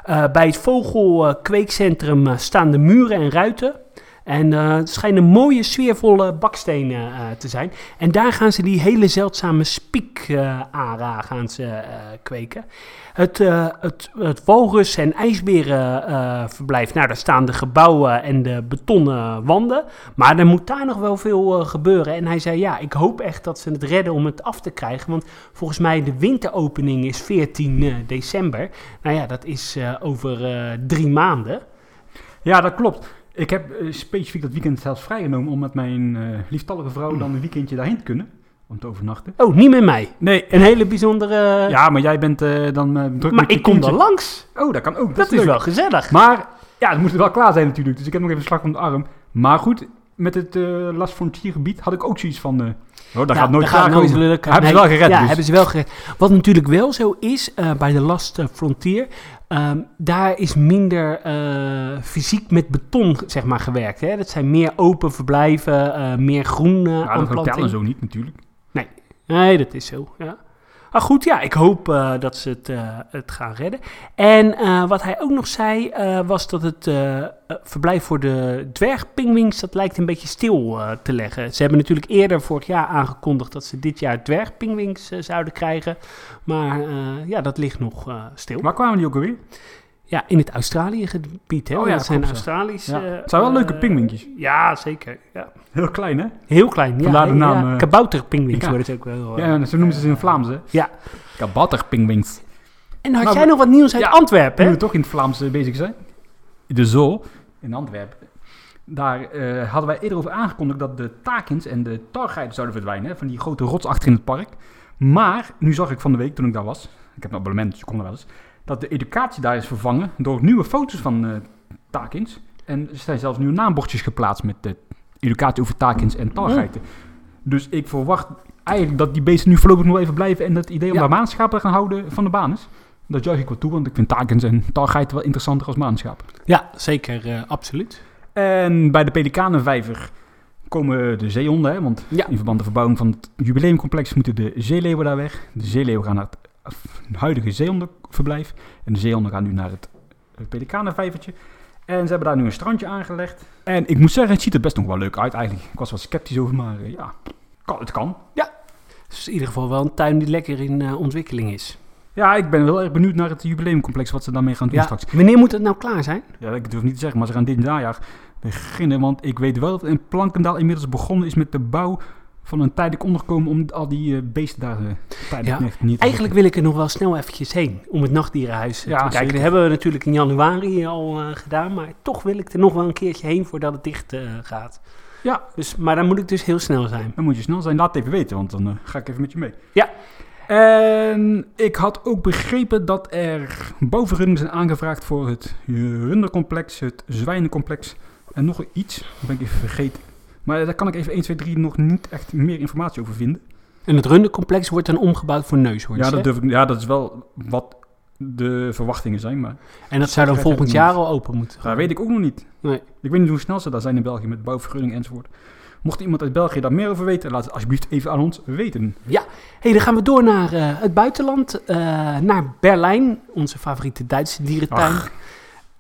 S1: Eh, bij het vogelkweekcentrum eh, staan de muren en ruiten. En eh, het schijnen mooie, sfeervolle bakstenen eh, te zijn. En daar gaan ze die hele zeldzame spiekara gaan ze eh, kweken. Het, eh, het, het walrus- en ijsberenverblijf, nou daar staan de gebouwen en de betonnen wanden. Maar er moet daar nog wel veel eh, gebeuren. En hij zei, ja, ik hoop echt dat ze het redden om het af te krijgen. Want volgens mij de winteropening is 14 eh, december. Nou ja, dat is eh, over eh, drie maanden.
S2: Ja, dat klopt. Ik heb eh, specifiek dat weekend zelfs vrijgenomen om met mijn eh lieftallige vrouw dan een weekendje daarheen te kunnen. Om te overnachten.
S1: Oh, niet met mij.
S2: Nee. eh.
S1: Een hele bijzondere...
S2: Ja, maar jij bent eh, dan eh, druk
S1: maar
S2: met je
S1: ik kom er
S2: kindje.
S1: langs.
S2: Oh, dat kan ook. Dat,
S1: Dat
S2: is
S1: is
S2: leuk.
S1: wel gezellig.
S2: Maar ja, het moet wel klaar zijn natuurlijk. Dus ik heb nog even een slag om de arm. Maar goed, met het eh Las Frontiergebied had ik ook zoiets van... eh oh, dat
S1: Ja,
S2: gaat nooit
S1: daar
S2: klaar
S1: gaat nooit
S2: komen.
S1: lukken.
S2: Hebben ze
S1: Nee,
S2: wel gered
S1: Ja,
S2: dus.
S1: hebben ze wel gered. Wat natuurlijk wel zo is, eh, bij de Last Frontier, ehm, daar is minder eh, fysiek met beton zeg maar, gewerkt. Hè? Dat zijn meer open verblijven, eh, meer groen eh
S2: Ja, dat hotel
S1: aanplanting.
S2: en zo niet natuurlijk.
S1: Nee, dat is zo, ja. Maar goed, ja, ik hoop eh, dat ze het, eh, het gaan redden. En eh, wat hij ook nog zei, eh, was dat het eh, eh, verblijf voor de dwergpingwings, dat lijkt een beetje stil eh, te leggen. Ze hebben natuurlijk eerder vorig jaar aangekondigd dat ze dit jaar dwergpingwings eh, zouden krijgen. Maar eh, ja, dat ligt nog eh, stil.
S2: Waar kwamen die ook alweer?
S1: Ja, in het Australië-gebied, hè?
S2: Oh ja,
S1: dat
S2: dat
S1: zijn
S2: klopt, ja.
S1: Australische...
S2: Ja.
S1: eh,
S2: Het zijn wel leuke
S1: eh,
S2: pinguïntjes.
S1: Ja, zeker. Ja.
S2: Heel klein, hè?
S1: Heel klein. Ja,
S2: Vandaar de
S1: ja,
S2: naam,
S1: ja.
S2: eh.
S1: Kabouterpingwings
S2: Ja.
S1: worden het ook wel. eh.
S2: Ja, en zo noemen ze ze in het Vlaams, hè?
S1: Ja.
S2: Kabouterpingwings.
S1: En had
S2: Nou,
S1: jij nog wat nieuws uit
S2: ja,
S1: Antwerpen?
S2: Nu
S1: Hè?
S2: we toch in het Vlaams eh, bezig zijn. De Zool in Antwerpen. Daar eh, hadden wij eerder over aangekondigd dat de takens en de targeiten zouden verdwijnen. hè, Van die grote rots achter in het park. Maar nu zag ik van de week toen ik daar was. Ik heb een abonnement, dus ik kom daar wel eens. Dat de educatie daar is vervangen door nieuwe foto's van eh takens. En er zijn zelfs nieuwe naambordjes geplaatst met de educatie over takens en targeiten. Dus ik verwacht eigenlijk dat die beesten nu voorlopig nog even blijven. En dat idee om
S1: Ja.
S2: daar manschappen te gaan houden van de baan is. Dat juich ik wel toe, want ik vind takens en targeiten wel interessanter als maanschap.
S1: Ja, zeker, eh, absoluut.
S2: En bij de Pelikanenvijver komen de zeehonden, hè, want
S1: Ja.
S2: in verband met de verbouwing van het jubileumcomplex moeten de zeeleeuwen daar weg. De zeeleeuwen gaan naar het af- huidige zeehondenverblijf en de zeehonden gaan nu naar het eh, Pelikanenvijvertje. En ze hebben daar nu een strandje aangelegd. En ik moet zeggen, het ziet er best nog wel leuk uit eigenlijk. Ik was wel sceptisch over, maar eh, ja, kan, het kan.
S1: Dus in ieder geval wel een tuin die lekker in eh, ontwikkeling is.
S2: Ja, ik ben wel erg benieuwd naar het jubileumcomplex, wat ze daarmee gaan doen
S1: Ja,
S2: straks.
S1: wanneer moet het nou klaar zijn?
S2: Ja, ik durf niet te zeggen, maar ze gaan dit najaar beginnen. Want ik weet wel dat in Plankendaal inmiddels begonnen is met de bouw van een tijdelijk onderkomen om al die eh, beesten daar eh, tijdelijk
S1: Ja,
S2: echt niet te
S1: Eigenlijk wil ik er nog wel snel eventjes heen om het nachtdierenhuis eh,
S2: Ja,
S1: te kijken.
S2: zeker.
S1: Dat hebben we natuurlijk in januari al eh, gedaan, maar toch wil ik er nog wel een keertje heen voordat het dicht eh, gaat.
S2: Ja.
S1: Dus, maar dan moet ik dus heel snel zijn.
S2: Dan moet je snel zijn, laat het even weten, want dan eh, ga ik even met je mee.
S1: Ja.
S2: En ik had ook begrepen dat er bovenrundingen zijn aangevraagd voor het rundercomplex, het zwijnencomplex en nog iets. Dat ben ik even vergeten. Maar daar kan ik even 1, 2, 3 nog niet echt meer informatie over vinden.
S1: En het rundencomplex wordt dan omgebouwd voor neushoorns.
S2: Ja,
S1: hè?
S2: dat durf ik, ja, dat is wel wat de verwachtingen zijn, maar...
S1: en dat zou dan
S2: Dat heb ik
S1: volgend
S2: niet.
S1: jaar al open moeten
S2: Dat weet ik ook nog niet.
S1: Nee.
S2: Ik weet niet hoe snel ze daar zijn in België met bouwvergunning enzovoort. Mocht iemand uit België daar meer over weten, laat het alsjeblieft even aan ons weten.
S1: Hey, dan gaan we door naar eh, het buitenland, eh, naar Berlijn, onze favoriete Duitse dierentuin.
S2: Ach.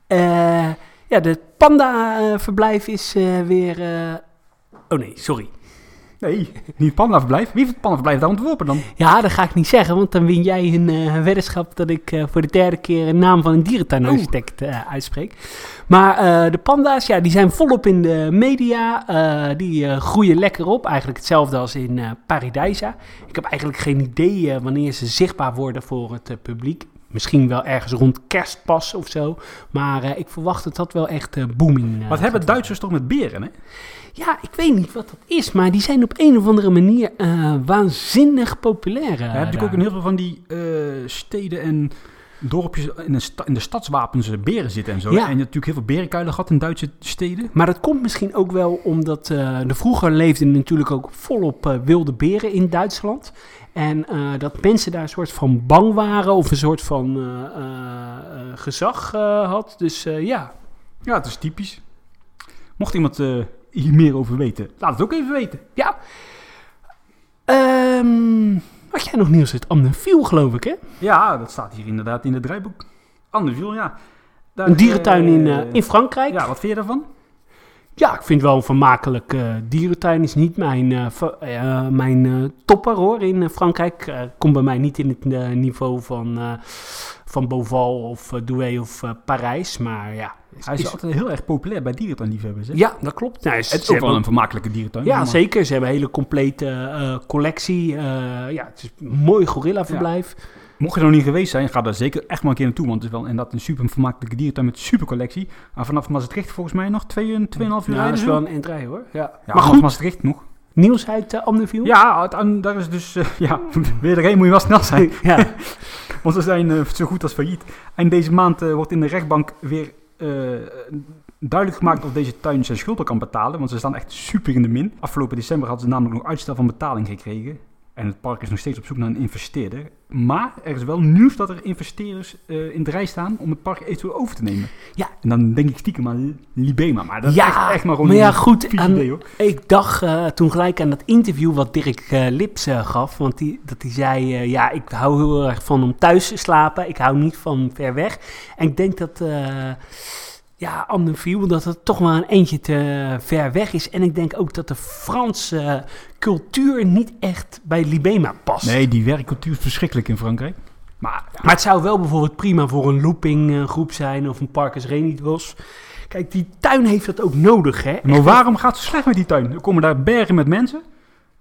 S1: Eh, ja, de panda-verblijf is eh, weer. eh, Oh nee, sorry.
S2: Nee, niet pandaverblijf. Wie heeft het pandaverblijf daar ontworpen dan?
S1: Ja, dat ga ik niet zeggen, want dan win jij een eh, weddenschap dat ik eh, voor de derde keer een naam van een dierentuinarchitect
S2: Oh.
S1: eh, uitspreek. Maar eh, de panda's, ja, die zijn volop in de media. eh, die eh, groeien lekker op. Eigenlijk hetzelfde als in eh Paradijsa. Ik heb eigenlijk geen idee eh, wanneer ze zichtbaar worden voor het eh, publiek. Misschien wel ergens rond kerst pas of zo. Maar eh, ik verwacht dat dat wel echt eh, booming eh,
S2: Wat hebben
S1: gaat
S2: Duitsers toch met beren, hè?
S1: worden. Ja, ik weet niet wat dat is, maar die zijn op een of andere manier eh, waanzinnig populair. eh,
S2: Ja, heb je
S1: daar.
S2: ook in heel veel van die eh, steden en dorpjes in de, sta- in de stadswapens eh, beren zitten en zo.
S1: Ja.
S2: hè? En je hebt natuurlijk heel veel berenkuilen gehad in Duitse steden.
S1: Maar dat komt misschien ook wel omdat eh de vroeger leefden natuurlijk ook volop eh, wilde beren in Duitsland. En eh, dat mensen daar een soort van bang waren of een soort van eh, eh, eh, gezag eh, had. Dus eh, ja,
S2: Ja, het is typisch. Mocht iemand eh, hier meer over weten, laat het ook even weten.
S1: ja. Ehm, had jij nog nieuws uit Amnenviel, geloof ik, hè?
S2: Ja, dat staat hier inderdaad in het draaiboek. Anderviel, ja. Daar,
S1: Een dierentuin in, eh,
S2: eh,
S1: in Frankrijk.
S2: Ja, wat vind je daarvan?
S1: Ja, ik vind wel een vermakelijk. eh, dierentuin is niet mijn, eh, fa- eh, mijn eh, topper hoor in eh, Frankrijk. Eh, komt bij mij niet in het eh, niveau van, eh van Beauval of eh, Douai of eh, Parijs. Maar ja.
S2: Hij is altijd heel erg populair bij dierentuinliefhebbers. Hè?
S1: ja, dat klopt. Nou, ze
S2: het is ook
S1: hebben
S2: wel een vermakelijke dierentuin.
S1: ja,
S2: maar-
S1: zeker. Ze hebben een hele complete eh, collectie. Eh, ja, het is een mooi gorillaverblijf.
S2: Mocht je er nog niet geweest zijn, ga daar zeker echt maar een keer naartoe. Want het is wel inderdaad een super vermakelijke dierentuin met supercollectie. Maar vanaf Maastricht volgens mij nog 2,5 uur
S1: Ja,
S2: rijden.
S1: dat is
S2: zo.
S1: wel een eindrij hoor. Ja.
S2: Ja,
S1: maar
S2: vanaf
S1: goed,
S2: Maastricht nog.
S1: nieuws uit eh, Amneville?
S2: Ja, het- en daar is dus... eh, ja, weer erheen moet je wel snel zijn.
S1: ja.
S2: Want ze zijn eh, zo goed als failliet. En deze maand eh, wordt in de rechtbank weer eh, duidelijk gemaakt of deze tuin zijn schulden kan betalen. Want ze staan echt super in de min. Afgelopen december hadden ze namelijk nog uitstel van betaling gekregen. En het park is nog steeds op zoek naar een investeerder. Maar er is wel nieuws dat er investeerders eh, in de rij staan om het park eventueel over te nemen.
S1: Ja.
S2: En dan denk ik stiekem aan Libema. Maar dat
S1: Ja,
S2: is echt, echt maar gewoon
S1: maar ja,
S2: een
S1: goed,
S2: vies
S1: aan-
S2: idee, hoor.
S1: Ik dacht eh, toen gelijk aan dat interview wat Dirk eh, Lips eh, gaf. Want die, dat hij zei, eh, ja, ik hou heel erg van om thuis te slapen. Ik hou niet van ver weg. En ik denk dat, eh ja, Amnenviel, dat het toch maar een eentje te ver weg is. En ik denk ook dat de Franse cultuur niet echt bij Libema past.
S2: Nee, die werkcultuur is verschrikkelijk in Frankrijk. Maar
S1: Maar het zou wel bijvoorbeeld prima voor een looping eh, groep zijn of een Parkers Renitbos. Kijk, die tuin heeft dat ook nodig, hè?
S2: Maar waarom gaat het zo slecht met die tuin? Er komen daar bergen met mensen.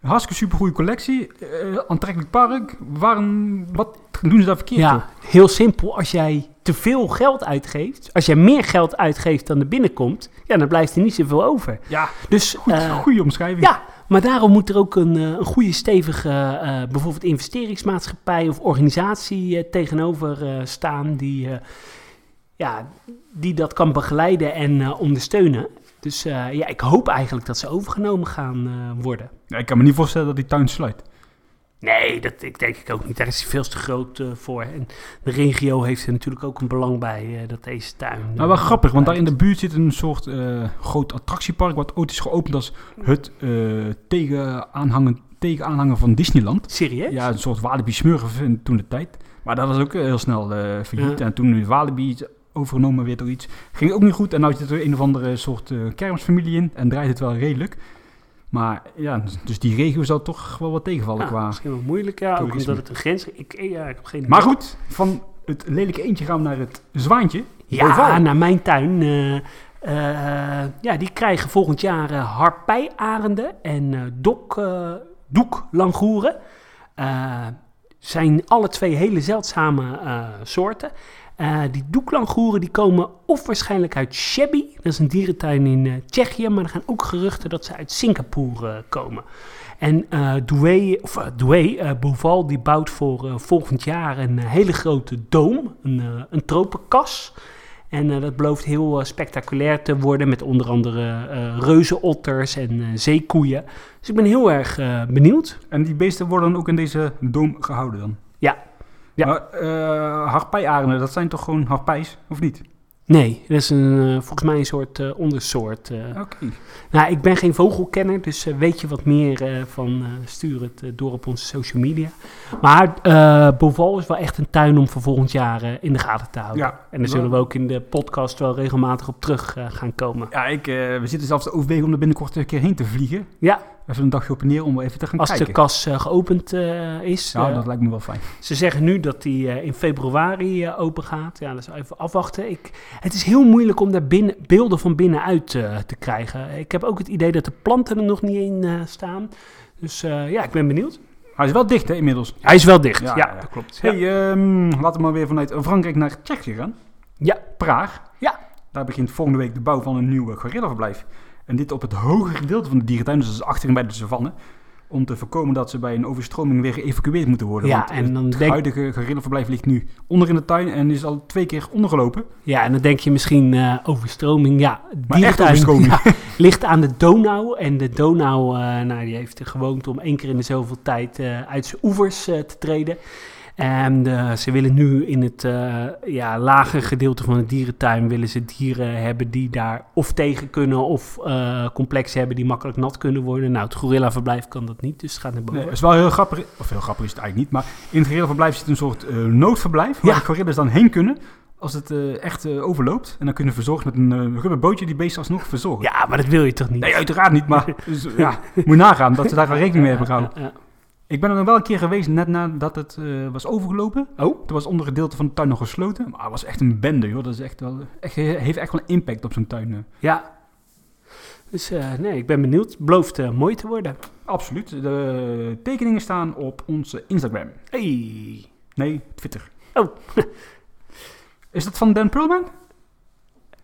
S2: Een hartstikke supergoeie collectie. eh, aantrekkelijk park. Waarom, wat doen ze daar verkeerd?
S1: Ja,
S2: joh?
S1: heel simpel. Als jij te veel geld uitgeeft, als jij meer geld uitgeeft dan er binnenkomt, ja, dan blijft er niet zoveel over.
S2: ja
S1: Dus
S2: goed,
S1: eh,
S2: goede omschrijving.
S1: ja, maar daarom moet er ook een, eh, een goede, stevige, eh, bijvoorbeeld investeringsmaatschappij of organisatie eh, tegenover eh, staan die, eh, ja, die dat kan begeleiden en eh, ondersteunen. Dus eh, ja, ik hoop eigenlijk dat ze overgenomen gaan eh, worden.
S2: Ja, Ik kan me niet voorstellen dat die tuin sluit.
S1: Nee, dat ik denk ik ook niet. Daar is hij veel te groot eh, voor. En de regio heeft er natuurlijk ook een belang bij eh, dat deze tuin. eh,
S2: Maar Nou, wel grappig, want daar in de buurt zit een soort eh, groot attractiepark. Wat ooit is geopend als het eh tegenaanhangen, tegenaanhanger van Disneyland.
S1: Serieus?
S2: Ja, een soort Walibi Smurf in toen de tijd. Maar dat was ook eh, heel snel eh, failliet.
S1: Ja.
S2: En toen nu Walibi is overgenomen weer door iets. Ging ook niet goed. En nou zit er een of andere soort eh, kermisfamilie in. En draait het wel redelijk. Maar ja, dus die regio zou toch wel wat tegenvallen
S1: Ah,
S2: qua...
S1: Misschien wel moeilijk, ja. Ook
S2: toerisme.
S1: omdat het een grens is. Ik, eh, ja, ik heb geen idee.
S2: Maar goed, van het lelijke eentje gaan we naar het zwaantje.
S1: Ja,
S2: Boval.
S1: naar mijn tuin. eh, eh, ja, die krijgen volgend jaar eh, harpijarenden en eh dok, eh, doeklangoeren. Eh, zijn alle twee hele zeldzame eh, soorten. Eh, die doeklangoeren die komen of waarschijnlijk uit Chebi, dat is een dierentuin in eh, Tsjechië, maar er gaan ook geruchten dat ze uit Singapore eh, komen. En eh Douai, of eh, Douai, eh, Boval, die bouwt voor eh, volgend jaar een eh, hele grote doom, een, eh, een tropenkas. En eh, dat belooft heel eh, spectaculair te worden met onder andere eh reuzenotters en eh, zeekoeien. Dus ik ben heel erg eh, benieuwd.
S2: En die beesten worden dan ook in deze doom gehouden dan?
S1: Ja. Ja.
S2: Maar eh, harpijarenden, dat zijn toch gewoon harpijs, of niet?
S1: Nee, dat is een, eh, volgens mij een soort eh, ondersoort. eh.
S2: Oké.
S1: Nou, ik ben geen vogelkenner, dus eh, weet je wat meer eh, van, eh, stuur het eh, door op onze social media. Maar eh Boval is wel echt een tuin om voor volgend jaar eh, in de gaten te houden.
S2: Ja.
S1: En daar zullen we ook in de podcast wel regelmatig op terug eh, gaan komen.
S2: Ja, ik, eh, we zitten zelfs te overwegen om er binnenkort een keer heen te vliegen.
S1: Ja,
S2: Even een dagje op en neer om even te gaan
S1: als
S2: kijken.
S1: de kas eh, geopend eh, is.
S2: Ja,
S1: eh,
S2: dat lijkt me wel fijn.
S1: Ze zeggen nu dat die eh, in februari eh, open gaat. Ja, dat is even afwachten. Ik, het is heel moeilijk om daar binnen, beelden van binnenuit eh, te krijgen. Ik heb ook het idee dat de planten er nog niet in eh, staan. Dus eh, ja, ik ben benieuwd.
S2: Hij is wel dicht, hè, inmiddels.
S1: Hij is wel dicht. Ja,
S2: Ja, ja.
S1: dat klopt. Ja.
S2: Hey, ehm, laten we maar weer vanuit Frankrijk naar Tsjechië gaan.
S1: Ja.
S2: Praag.
S1: Ja.
S2: Daar begint volgende week de bouw van een nieuw eh, gorillaverblijf. En dit op het hogere gedeelte van de dierentuin, dus dat is achterin bij de savanne. Om te voorkomen dat ze bij een overstroming weer geëvacueerd moeten worden.
S1: Ja,
S2: want
S1: en
S2: het
S1: dan denk-
S2: huidige gorillaverblijf ligt nu onder in de tuin en is al twee keer ondergelopen.
S1: Ja, en dan denk je misschien eh, overstroming. Ja,
S2: Maar echt
S1: dierentuin
S2: overstroming.
S1: ja, ligt aan de Donau. En de Donau eh, nou, die heeft de gewoonte om één keer in de zoveel tijd eh, uit zijn oevers eh, te treden. En eh, ze willen nu in het eh ja, lage gedeelte van de dierentuin willen ze dieren hebben die daar of tegen kunnen of eh, complexen hebben die makkelijk nat kunnen worden. Nou, het gorillaverblijf kan dat niet, dus het gaat naar boven.
S2: Nee, het is wel heel grappig, of heel grappig is het eigenlijk niet, maar in het gorillaverblijf zit een soort eh, noodverblijf waar
S1: Ja.
S2: de gorillas dan heen kunnen als het eh, echt eh, overloopt. En dan kunnen we verzorgen met een eh, rubberbootje die beesten alsnog verzorgen.
S1: Ja, maar dat wil je toch niet?
S2: Nee, uiteraard niet, maar dus, ja, moet je nagaan dat ze daar wel rekening mee
S1: Eh,
S2: hebben
S1: Ja,
S2: gehouden.
S1: ja.
S2: Ik ben er nog wel een keer geweest net nadat het eh, was overgelopen.
S1: Oh?
S2: Toen was het ondergedeelte van de tuin nog gesloten, maar het was echt een bende, joh. Dat is echt wel, echt, heeft echt wel een impact op zo'n tuin. eh.
S1: Ja. Dus eh, nee, ik ben benieuwd. Belooft eh, mooi te worden.
S2: Absoluut. De tekeningen staan op onze Instagram.
S1: Hey.
S2: Nee, Twitter.
S1: Oh.
S2: Is dat van Dan Perlman?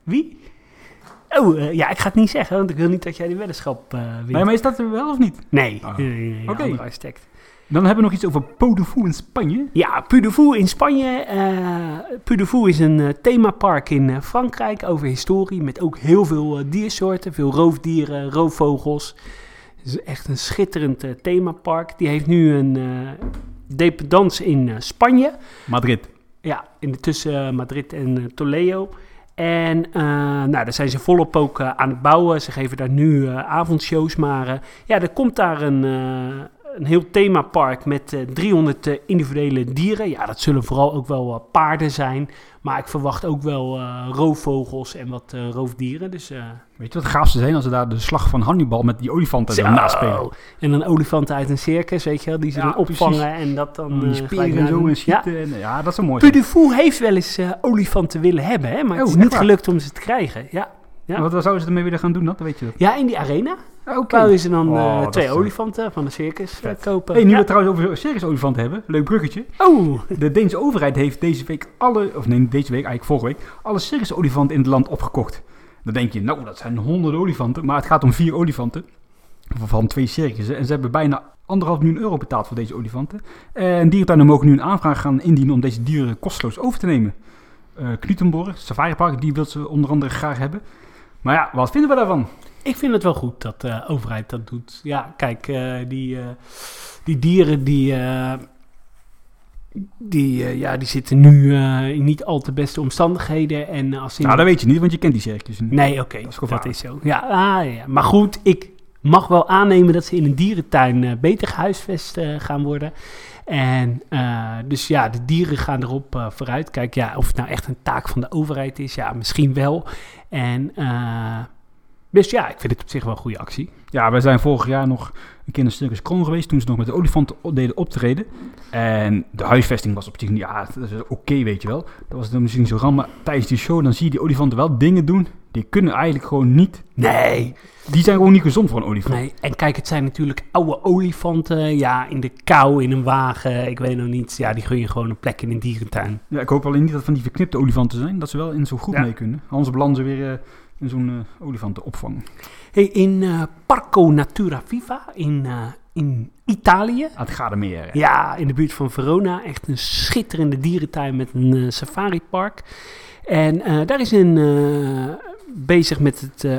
S1: Wie? Oh, eh, ja, ik ga het niet zeggen, want ik wil niet dat jij de weddenschap eh wint.
S2: Nee, maar is dat er wel of niet?
S1: Nee,
S2: Oh.
S1: nee, nee, nee, een
S2: Oké.
S1: andere architect.
S2: Dan hebben we nog iets over Podofu in Spanje.
S1: Ja, Pudevou in Spanje. eh Pudevou is een eh, themapark in eh, Frankrijk over historie. Met ook heel veel eh, diersoorten. Veel roofdieren, roofvogels. Het is echt een schitterend eh, themapark. Die heeft nu een eh dependance in eh, Spanje.
S2: Madrid.
S1: Ja, in de tussen eh, Madrid en eh, Toledo. En eh, nou, daar zijn ze volop ook eh, aan het bouwen. Ze geven daar nu eh, avondshows. Maar eh, ja, er komt daar een, eh, een heel themapark met eh, 300 eh, individuele dieren. Ja, dat zullen vooral ook wel eh, paarden zijn. Maar ik verwacht ook wel eh, roofvogels en wat eh, roofdieren. Dus eh,
S2: Weet je wat gaaf ze zijn als ze daar de slag van Hannibal met die olifanten
S1: zo.
S2: dan naspelen?
S1: En dan olifanten uit een circus, weet je wel. Die ze
S2: Ja,
S1: dan
S2: precies.
S1: opvangen en dat dan...
S2: Die
S1: eh, gelijk
S2: spieren en
S1: nadoen.
S2: zo en
S1: Ja,
S2: schieten. en- Ja, dat is een mooi.
S1: Pudefou heeft wel eens eh, olifanten willen hebben, hè, maar het
S2: Oh,
S1: is
S2: echt
S1: niet
S2: waar?
S1: gelukt om ze te krijgen. Ja, ja.
S2: Maar Wat zouden ze ermee willen gaan doen dan? Dan weet je dat.
S1: ja in die arena
S2: Oké.
S1: bouwen ze dan eh,
S2: Oh, dat
S1: twee
S2: is, eh,
S1: olifanten van de circus eh,
S2: vet.
S1: kopen.
S2: Hey, nu
S1: Ja.
S2: we het trouwens over circusolifanten hebben, leuk bruggetje.
S1: Oh,
S2: De Deense overheid heeft deze week alle, of nee, deze week, eigenlijk vorige week, alle circusolifanten in het land opgekocht. Dan denk je, nou, dat zijn honderden olifanten, maar het gaat om vier olifanten van twee circussen. En ze hebben bijna anderhalf miljoen euro betaald voor deze olifanten. En dierentuinen mogen nu een aanvraag gaan indienen om deze dieren kosteloos over te nemen. Eh Knutenborg, Safaripark, die wil ze onder andere graag hebben. Maar ja, wat vinden we daarvan?
S1: ik vind het wel goed dat de overheid dat doet. Ja, kijk, eh, die, eh, die dieren die, eh, die, eh, ja, die zitten nu eh, in niet al te beste omstandigheden. En eh, als ze in
S2: Nou, dat weet je niet, want je kent die circussen. niet.
S1: Nee, oké.
S2: Dat is
S1: dat
S2: gevaarlijk.
S1: is zo. Ja, ah, ja, ja. Maar goed, ik mag wel aannemen dat ze in een dierentuin eh, beter gehuisvest eh, gaan worden. En eh, dus ja, de dieren gaan erop eh, vooruit. Kijk, ja, of het nou echt een taak van de overheid is, ja, misschien wel. En eh, dus ja, ik vind het op zich wel een goede actie.
S2: Ja, wij zijn vorig jaar nog een keer naar Circus Kroon geweest toen ze nog met de olifanten o- deden optreden. En de huisvesting was op zich niet, ja, dat is oké, weet je wel. Dat was dan misschien zo ram, maar tijdens die show dan zie je die olifanten wel dingen doen die kunnen eigenlijk gewoon niet.
S1: Nee,
S2: Die zijn gewoon niet gezond voor een olifant.
S1: Nee, en kijk, het zijn natuurlijk oude olifanten. Ja, in de kou, in een wagen, ik weet nog niet. Ja, die gun je gewoon een plek in een dierentuin.
S2: Ja, ik hoop alleen niet dat van die verknipte olifanten zijn, dat ze wel in zo'n groep
S1: Ja.
S2: mee kunnen. Anders belanden ze weer eh, in zo'n eh, olifantenopvang.
S1: Hey, in eh, Parco Natura Viva in, eh, in Italië.
S2: Ah, het gaat er meer. hè.
S1: Ja, in de buurt van Verona. Echt een schitterende dierentuin met een eh, safaripark. En eh, daar is een eh, bezig met het eh,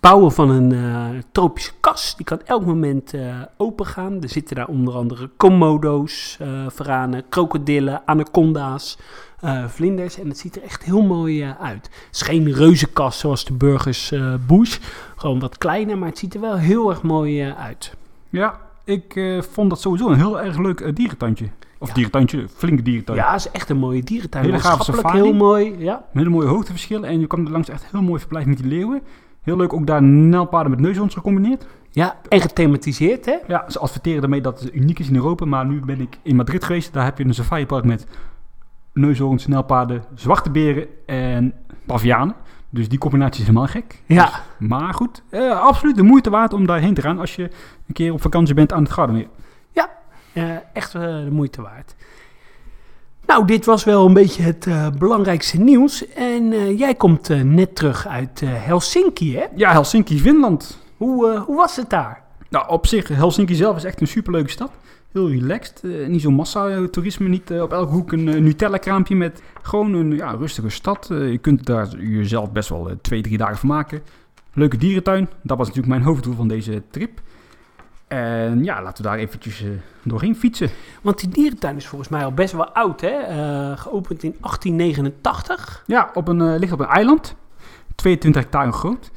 S1: bouwen van een eh, tropische kas. Die kan elk moment eh open gaan. Er zitten daar onder andere komodo's, eh veranen, krokodillen, anaconda's, eh, vlinders. En het ziet er echt heel mooi eh, uit. Het is geen reuzenkas zoals de burgers eh Bush. Gewoon wat kleiner, maar het ziet er wel heel erg mooi eh, uit.
S2: Ja, ik eh, vond dat sowieso een heel erg leuk eh, dierentandje. Of
S1: Ja.
S2: dierentandje, flink dierentandje.
S1: Ja, is echt een mooie dierentuin.
S2: Hele gave
S1: Landschappelijk
S2: safari.
S1: heel mooi. Ja.
S2: Met hele mooie hoogteverschillen. En je kwam er langs echt heel mooi verblijf met die leeuwen. Heel leuk ook daar nijlpaarden met neushoorns gecombineerd.
S1: ja, en gethematiseerd, hè?
S2: Ja, ze adverteren daarmee dat het uniek is in Europa. Maar nu ben ik in Madrid geweest. Daar heb je een safaripark met neushoorns, nijlpaarden, zwarte beren en pavianen. Dus die combinatie is helemaal gek. Dus,
S1: Ja.
S2: Maar goed, eh, absoluut de moeite waard om daarheen te gaan als je een keer op vakantie bent aan het Gardameer.
S1: ja. Eh, echt eh, de moeite waard. Nou, dit was wel een beetje het eh, belangrijkste nieuws. En eh, jij komt eh, net terug uit eh, Helsinki, hè?
S2: Ja, Helsinki, Finland.
S1: Hoe, eh, hoe was het daar?
S2: Nou, op zich, Helsinki zelf is echt een superleuke stad. Heel relaxed, eh, niet zo'n massa-toerisme, niet eh, op elke hoek een eh, Nutella-kraampje met gewoon een ja, rustige stad. Eh, je kunt daar jezelf best wel eh, twee, drie dagen van maken. Leuke dierentuin, dat was natuurlijk mijn hoofddoel van deze trip. En ja, laten we daar eventjes eh, doorheen fietsen.
S1: Want die dierentuin is volgens mij al best wel oud, hè? Eh, geopend in 1889.
S2: Ja, op een, eh, ligt op een eiland. 22 hectare groot.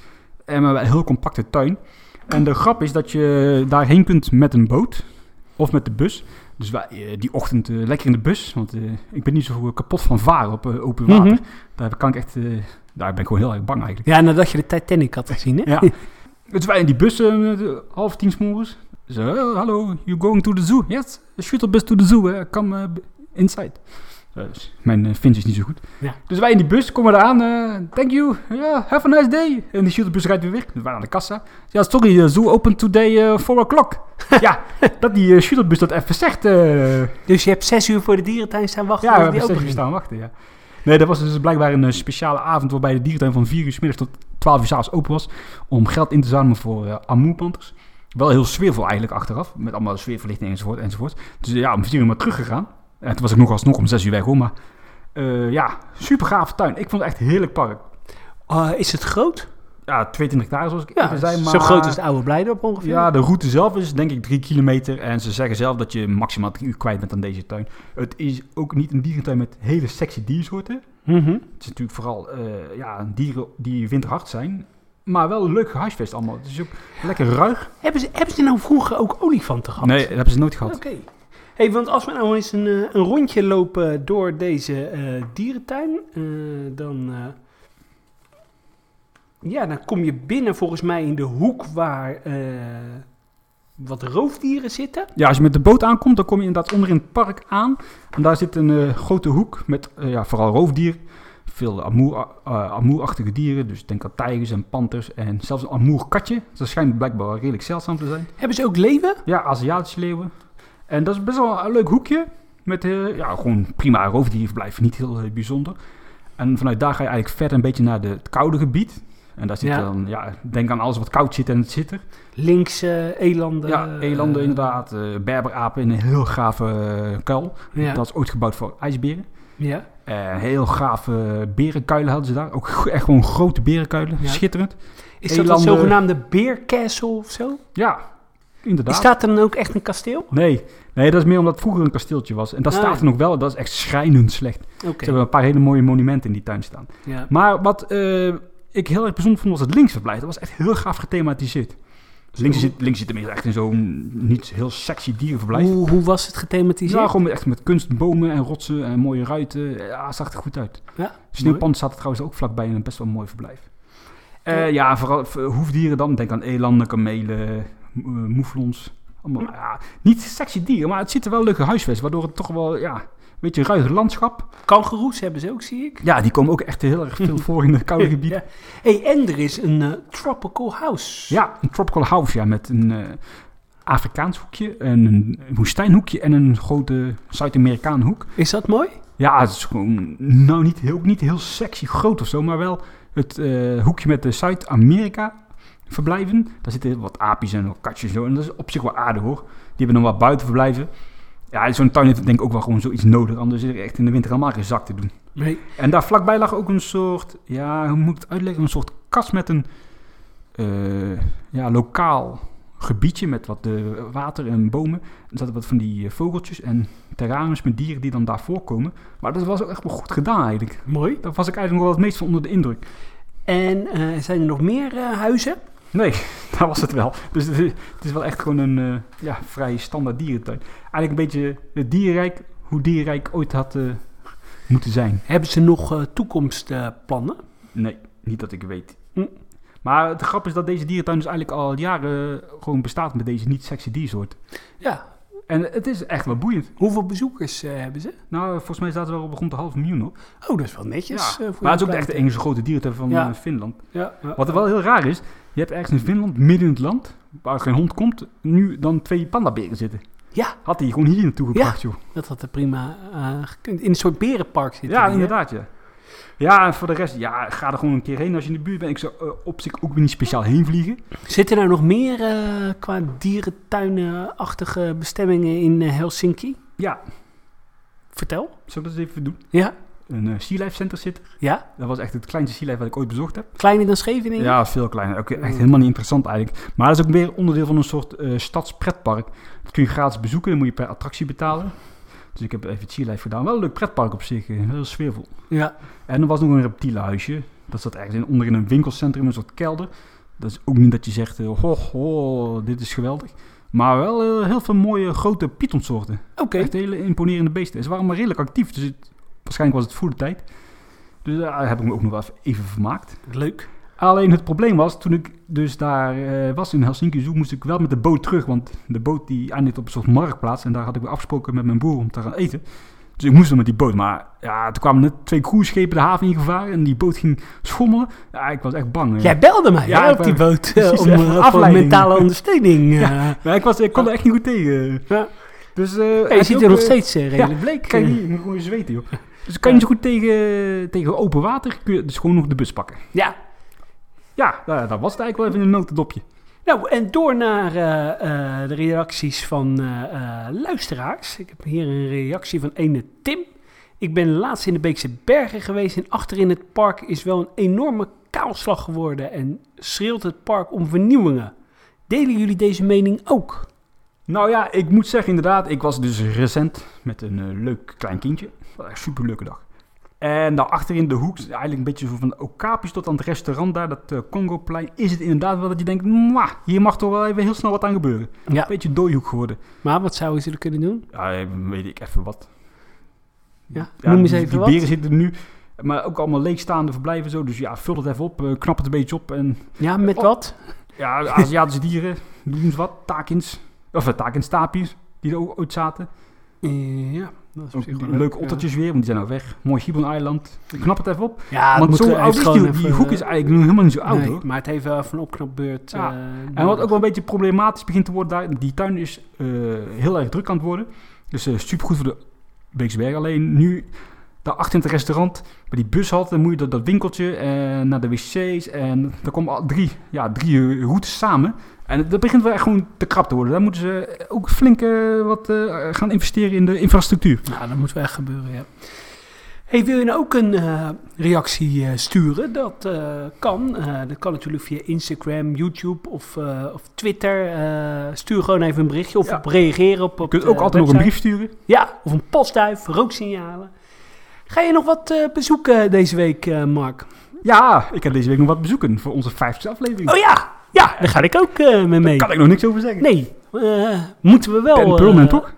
S2: En met een heel compacte tuin. En de grap is dat je daarheen kunt met een boot. Of met de bus. Dus wij, eh, die ochtend eh, lekker in de bus. Want eh, ik ben niet zo kapot van varen op eh, open water.
S1: Mhm.
S2: Daar kan ik echt... eh, daar ben ik gewoon heel erg bang eigenlijk.
S1: Ja, nadat je de Titanic had gezien, hè?
S2: Ja. Dus wij in die bus eh, met, eh, half tien 's morgens. Zo, eh, hallo, you going to the zoo? Yes, shuttle bus to the zoo. eh, come eh, b- inside. Dus mijn eh, Fins is niet zo goed.
S1: Ja.
S2: Dus wij in die bus komen eraan. eh, thank you. Yeah, have a nice day. En die shuttlebus rijdt weer weg. We waren aan de kassa. Ja, sorry, eh, zoo open today eh 4 o'clock. ja, dat die eh, shuttlebus dat even zegt. eh,
S1: Dus je hebt zes uur voor de dierentuin staan wachten.
S2: ja, we
S1: tot die
S2: hebben steeds
S1: openging.
S2: gestaan wachten, ja. Nee, dat was dus blijkbaar een eh, speciale avond waarbij de dierentuin van 4 uur 's middags tot 12 uur 's avonds open was. Om geld in te zamelen voor eh amoepanters. Wel heel sfeervol eigenlijk achteraf. Met allemaal sfeerverlichting enzovoort enzovoort. Dus eh, ja, om 4 uur maar teruggegaan. En toen was ik nog alsnog om 6 uur weg hoor. Maar eh, ja, super gave tuin. Ik vond het echt een heerlijk park.
S1: Eh, is het groot?
S2: Ja, 22 hectare zoals ik
S1: Ja,
S2: even zei. Maar...
S1: zo groot als de oude Blijdorp ongeveer.
S2: Ja, de route zelf is denk ik 3 kilometer. En ze zeggen zelf dat je maximaal 3 uur kwijt bent aan deze tuin. Het is ook niet een dierentuin met hele sexy diersoorten.
S1: Mhm.
S2: Het is natuurlijk vooral eh, ja, dieren die winterhard zijn. Maar wel een leuk huisvest allemaal. Het is ook lekker ruig.
S1: Hebben, ze, hebben ze nou vroeger ook olifanten gehad?
S2: Nee, dat hebben ze nooit
S1: Oké.
S2: gehad.
S1: Hey, want als we nou eens een, eh, een rondje lopen door deze eh, dierentuin, eh, dan, eh, ja, dan kom je binnen volgens mij in de hoek waar eh, wat roofdieren zitten.
S2: Ja, als je met de boot aankomt, dan kom je inderdaad onder in het park aan. En daar zit een eh, grote hoek met eh, ja, vooral roofdier. Veel amoer- eh, amoerachtige dieren. Dus denk aan tijgers en panters. En zelfs een amoerkatje. Dat schijnt blijkbaar redelijk zeldzaam te zijn.
S1: Hebben ze ook leven?
S2: Ja, Aziatische leeuwen. En dat is best wel een leuk hoekje. Met eh, ja, gewoon prima roofdierverblijf, niet heel eh, bijzonder. En vanuit daar ga je eigenlijk verder een beetje naar de, het koude gebied. En daar zit
S1: Ja.
S2: dan, ja, denk aan alles wat koud zit en het zit er.
S1: Links eh, elanden.
S2: ja, elanden inderdaad, eh, berberapen in een heel gave eh, kuil.
S1: Ja.
S2: Dat is ooit gebouwd voor ijsberen.
S1: Ja.
S2: En heel gave eh, berenkuilen hadden ze daar. Ook g- echt gewoon grote berenkuilen,
S1: Ja.
S2: schitterend.
S1: Is dat dat
S2: Elanden.
S1: zogenaamde beerkessel of zo?
S2: Ja, inderdaad.
S1: Is dat dan ook echt een kasteel?
S2: Nee, nee, dat is meer omdat het vroeger een kasteeltje was. En dat
S1: Ah,
S2: staat
S1: ja.
S2: er nog wel, dat is echt schrijnend slecht.
S1: Oké.
S2: Ze hebben een paar hele mooie monumenten in die tuin staan.
S1: Ja.
S2: Maar wat eh, ik heel erg bijzonder vond, was het linksverblijf. Dat was echt heel gaaf gethematiseerd. Dus links, zit, links zit tenminste echt in zo'n niet heel sexy dierenverblijf.
S1: Hoe, hoe was het
S2: Ja,
S1: gethematiseerd?
S2: gewoon met, echt met kunstbomen en rotsen en mooie ruiten. Ja, het zag er goed uit.
S1: Ja,
S2: Sneeuwpand staat er trouwens ook vlakbij in een best wel mooi verblijf. Eh, ja, vooral v- hoefdieren dan. Denk aan elanden, kamelen, m- eh, moeflons. Allemaal, ja, niet sexy dieren, maar het ziet er wel leuke huisvest. Waardoor het toch wel, ja, een beetje een ruig landschap.
S1: Kangeroes hebben ze ook, zie ik.
S2: Ja, die komen ook echt heel erg veel voor in het koude gebied.
S1: Ja.
S2: Ja.
S1: Hey, en er is een eh, tropical house.
S2: een tropical house, ja, met een eh, Afrikaans hoekje, en een woestijnhoekje en een grote Zuid-Amerikaan hoek.
S1: Is dat mooi?
S2: Ja, het is gewoon, nou niet heel, niet heel sexy groot of zo, maar wel het eh, hoekje met de Zuid-Amerika verblijven. Daar zitten wat aapjes en wat katjes en zo, en dat is op zich wel aardig hoor. Die hebben dan wat buitenverblijven. Ja, zo'n tuin heeft denk ik ook wel gewoon zoiets nodig, anders is er echt in de winter allemaal geen zak te doen.
S1: Nee.
S2: En daar vlakbij lag ook een soort, ja, hoe moet ik het uitleggen? Een soort kast met een eh, ja, lokaal gebiedje met wat eh, water en bomen. Er zaten wat van die eh, vogeltjes en terrariums met dieren die dan daar voorkomen. Maar dat was ook echt wel goed gedaan eigenlijk.
S1: Mooi.
S2: Daar was ik eigenlijk nog wel het meest van onder de indruk.
S1: En eh, zijn er nog meer eh, huizen?
S2: Nee, daar was het wel. Dus het is, het is wel echt gewoon een eh, ja, vrij standaard dierentuin. Eigenlijk een beetje het dierenrijk, hoe dierenrijk ooit had eh, moeten zijn.
S1: Hebben ze nog eh, toekomstplannen?
S2: Nee, niet dat ik weet.
S1: Hm.
S2: Maar de grap is dat deze dierentuin dus eigenlijk al jaren gewoon bestaat met deze niet-sexy diersoort.
S1: ja.
S2: En het is echt wel boeiend.
S1: Hoeveel bezoekers eh, hebben ze?
S2: Nou, volgens mij zaten we wel rond de half miljoen op.
S1: Oh, dat is wel netjes. eh,
S2: maar
S1: voor
S2: het is
S1: een
S2: ook echt de
S1: klein-
S2: enige grote dierentuin van
S1: Ja.
S2: eh, Finland.
S1: Ja, ja.
S2: Wat wel heel raar is, je hebt ergens in Finland, midden in het land, waar geen hond komt, nu dan twee pandaberen zitten.
S1: Ja.
S2: Had hij gewoon hier naartoe gebracht, joh.
S1: Dat had er prima eh, gekund. In een soort berenpark zitten.
S2: Ja,
S1: die, hè?
S2: inderdaad, ja. Ja, en voor de rest, ja, ga er gewoon een keer heen als je in de buurt bent. Ik zou eh, op zich ook weer niet speciaal heen vliegen.
S1: Zitten er nog meer eh, qua dierentuinachtige bestemmingen in eh, Helsinki?
S2: Ja,
S1: Vertel.
S2: zullen we dat eens even doen?
S1: Ja?
S2: Een eh, Sea Life Center zit. er.
S1: Ja?
S2: Dat was echt het kleinste Sea Life wat ik ooit bezocht heb.
S1: Kleiner dan Scheveningen?
S2: Ja, veel kleiner. Ook echt helemaal niet interessant eigenlijk. Maar dat is ook weer onderdeel van een soort eh stadspretpark. Dat kun je gratis bezoeken, dan moet je per attractie betalen. Dus ik heb even het Sea Life gedaan. Wel een leuk pretpark op zich, eh, heel sfeervol.
S1: Ja.
S2: En er was nog een reptielenhuisje. Dat zat ergens in, onder in een winkelcentrum, een soort kelder. Dat is ook niet dat je zegt, eh, ho, ho, dit is geweldig. Maar wel eh, heel veel mooie grote pythonsoorten.
S1: Oké.
S2: Echt hele imponerende beesten. Ze waren maar redelijk actief, dus het- waarschijnlijk was het voor de tijd. Dus daar heb ik me ook nog wel even vermaakt.
S1: Leuk.
S2: Alleen het probleem was, toen ik dus daar eh, was in Helsinki Zoo, moest ik wel met de boot terug. Want de boot die eindigt op een soort marktplaats. En daar had ik weer afgesproken met mijn broer om te gaan eten. Dus ik moest dan met die boot. Maar ja, toen kwamen net twee cruiseschepen de haven in gevaar. En die boot ging schommelen. Ja, ik was echt bang. eh.
S1: Jij belde mij
S2: Ja,
S1: hè,
S2: ik
S1: op die
S2: wou-
S1: boot eh,
S2: Precies,
S1: om
S2: even
S1: eh, voor
S2: afleiding.
S1: mentale ondersteuning. eh. ja.
S2: Maar ik, was, ik kon er echt niet goed tegen.
S1: Ja.
S2: Dus, eh, heb
S1: je ziet
S2: ook,
S1: er nog
S2: eh,
S1: steeds eh, redelijk bleek.
S2: Kijk,
S1: eh.
S2: hier, je moet gewoon zweten, joh. Dus kan je niet zo goed tegen, tegen open water. Kun je dus gewoon nog de bus pakken.
S1: Ja.
S2: Ja, daar, daar was het eigenlijk wel even in een notendopje.
S1: Nou, en door naar eh, eh, de reacties van eh, eh, luisteraars. Ik heb hier een reactie van ene Tim. Ik ben laatst in de Beekse Bergen geweest en achterin het park is wel een enorme kaalslag geworden en schreeuwt het park om vernieuwingen. Delen jullie deze mening ook?
S2: Nou ja, ik moet zeggen inderdaad, ik was dus recent met een eh, leuk klein kindje. Dat was echt een superleuke dag. En daar achter in de hoek, eigenlijk een beetje zo van de Okapis tot aan het restaurant daar, dat eh, Congoplein, is het inderdaad wel dat je denkt, "Mwah, hier mag toch wel even heel snel wat aan gebeuren.
S1: Ja.
S2: Een beetje dooihoek geworden.
S1: Maar wat zouden ze er kunnen doen?
S2: Ja, eh, weet ik even wat.
S1: Ja, noem eens
S2: die,
S1: even
S2: die
S1: wat.
S2: beren zitten er nu, maar ook allemaal leegstaande verblijven zo. Dus ja, vul het even op, eh, knap het een beetje op. En
S1: Ja, met
S2: Oh.
S1: wat?
S2: ja, de Aziatische dieren, doen eens wat, takins, of eh, takinstapiers, die er ook ooit zaten.
S1: Eh, ja, dat is op
S2: Ook
S1: zich wel
S2: leuke
S1: ja.
S2: ottertjes weer, want die zijn nou weg. Mooi Gibbon Island. Ik knap het even op.
S1: Ja, dat
S2: want
S1: Ah, moet
S2: zo
S1: er
S2: oud
S1: echt
S2: is
S1: gewoon
S2: die,
S1: even,
S2: die hoek is
S1: eh,
S2: eigenlijk nog helemaal niet zo oud
S1: nee,
S2: hoor.
S1: Maar het heeft wel even een opknapbeurt.
S2: Ja.
S1: eh,
S2: En wat
S1: nodig.
S2: ook wel een beetje problematisch begint te worden daar, die tuin is eh, heel erg druk aan het worden. Dus eh supergoed voor de Beeksberg. Alleen nu, daar achter in het restaurant, bij die bushalte, moet je dat, dat winkeltje en naar de wc's. En daar komen al drie, ja, drie eh, routes samen. En dat begint wel echt gewoon te krap te worden. Daar moeten ze ook flink eh, wat eh, gaan investeren in de infrastructuur.
S1: Nou, dat moet wel echt gebeuren, ja. Hey, wil je nou ook een eh, reactie eh, sturen? Dat eh, kan. Eh, dat kan natuurlijk via Instagram, YouTube of, eh, of Twitter. Eh, stuur gewoon even een berichtje of
S2: Ja.
S1: op reageren op.
S2: Je kunt ook altijd nog een brief sturen.
S1: Ja, of een postduif, rooksignalen. Ga je nog wat eh, bezoeken deze week, eh, Mark?
S2: Ja, ik heb deze week nog wat bezoeken voor onze vijfde aflevering.
S1: Oh ja, ja daar ga ik ook eh mee mee.
S2: Kan ik nog niks over zeggen.
S1: Nee, eh, moeten we wel
S2: Ben
S1: eh,
S2: Perlman, toch?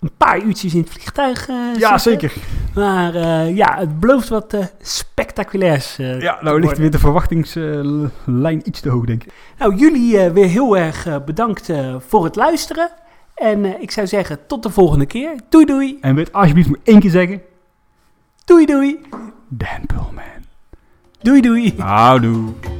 S1: een paar uurtjes in het vliegtuig eh,
S2: Ja,
S1: zitten.
S2: zeker.
S1: Maar eh, ja, het belooft wat eh, spectaculairs. eh,
S2: Ja, nou ligt weer de verwachtingslijn iets te hoog, denk ik.
S1: Nou, jullie eh, weer heel erg eh, bedankt eh, voor het luisteren. En eh, ik zou zeggen, tot de volgende keer. Doei doei.
S2: En weet alsjeblieft nog één keer zeggen.
S1: Doei doei.
S2: Dan Perlman.
S1: Doei doei.
S2: Nou, doe.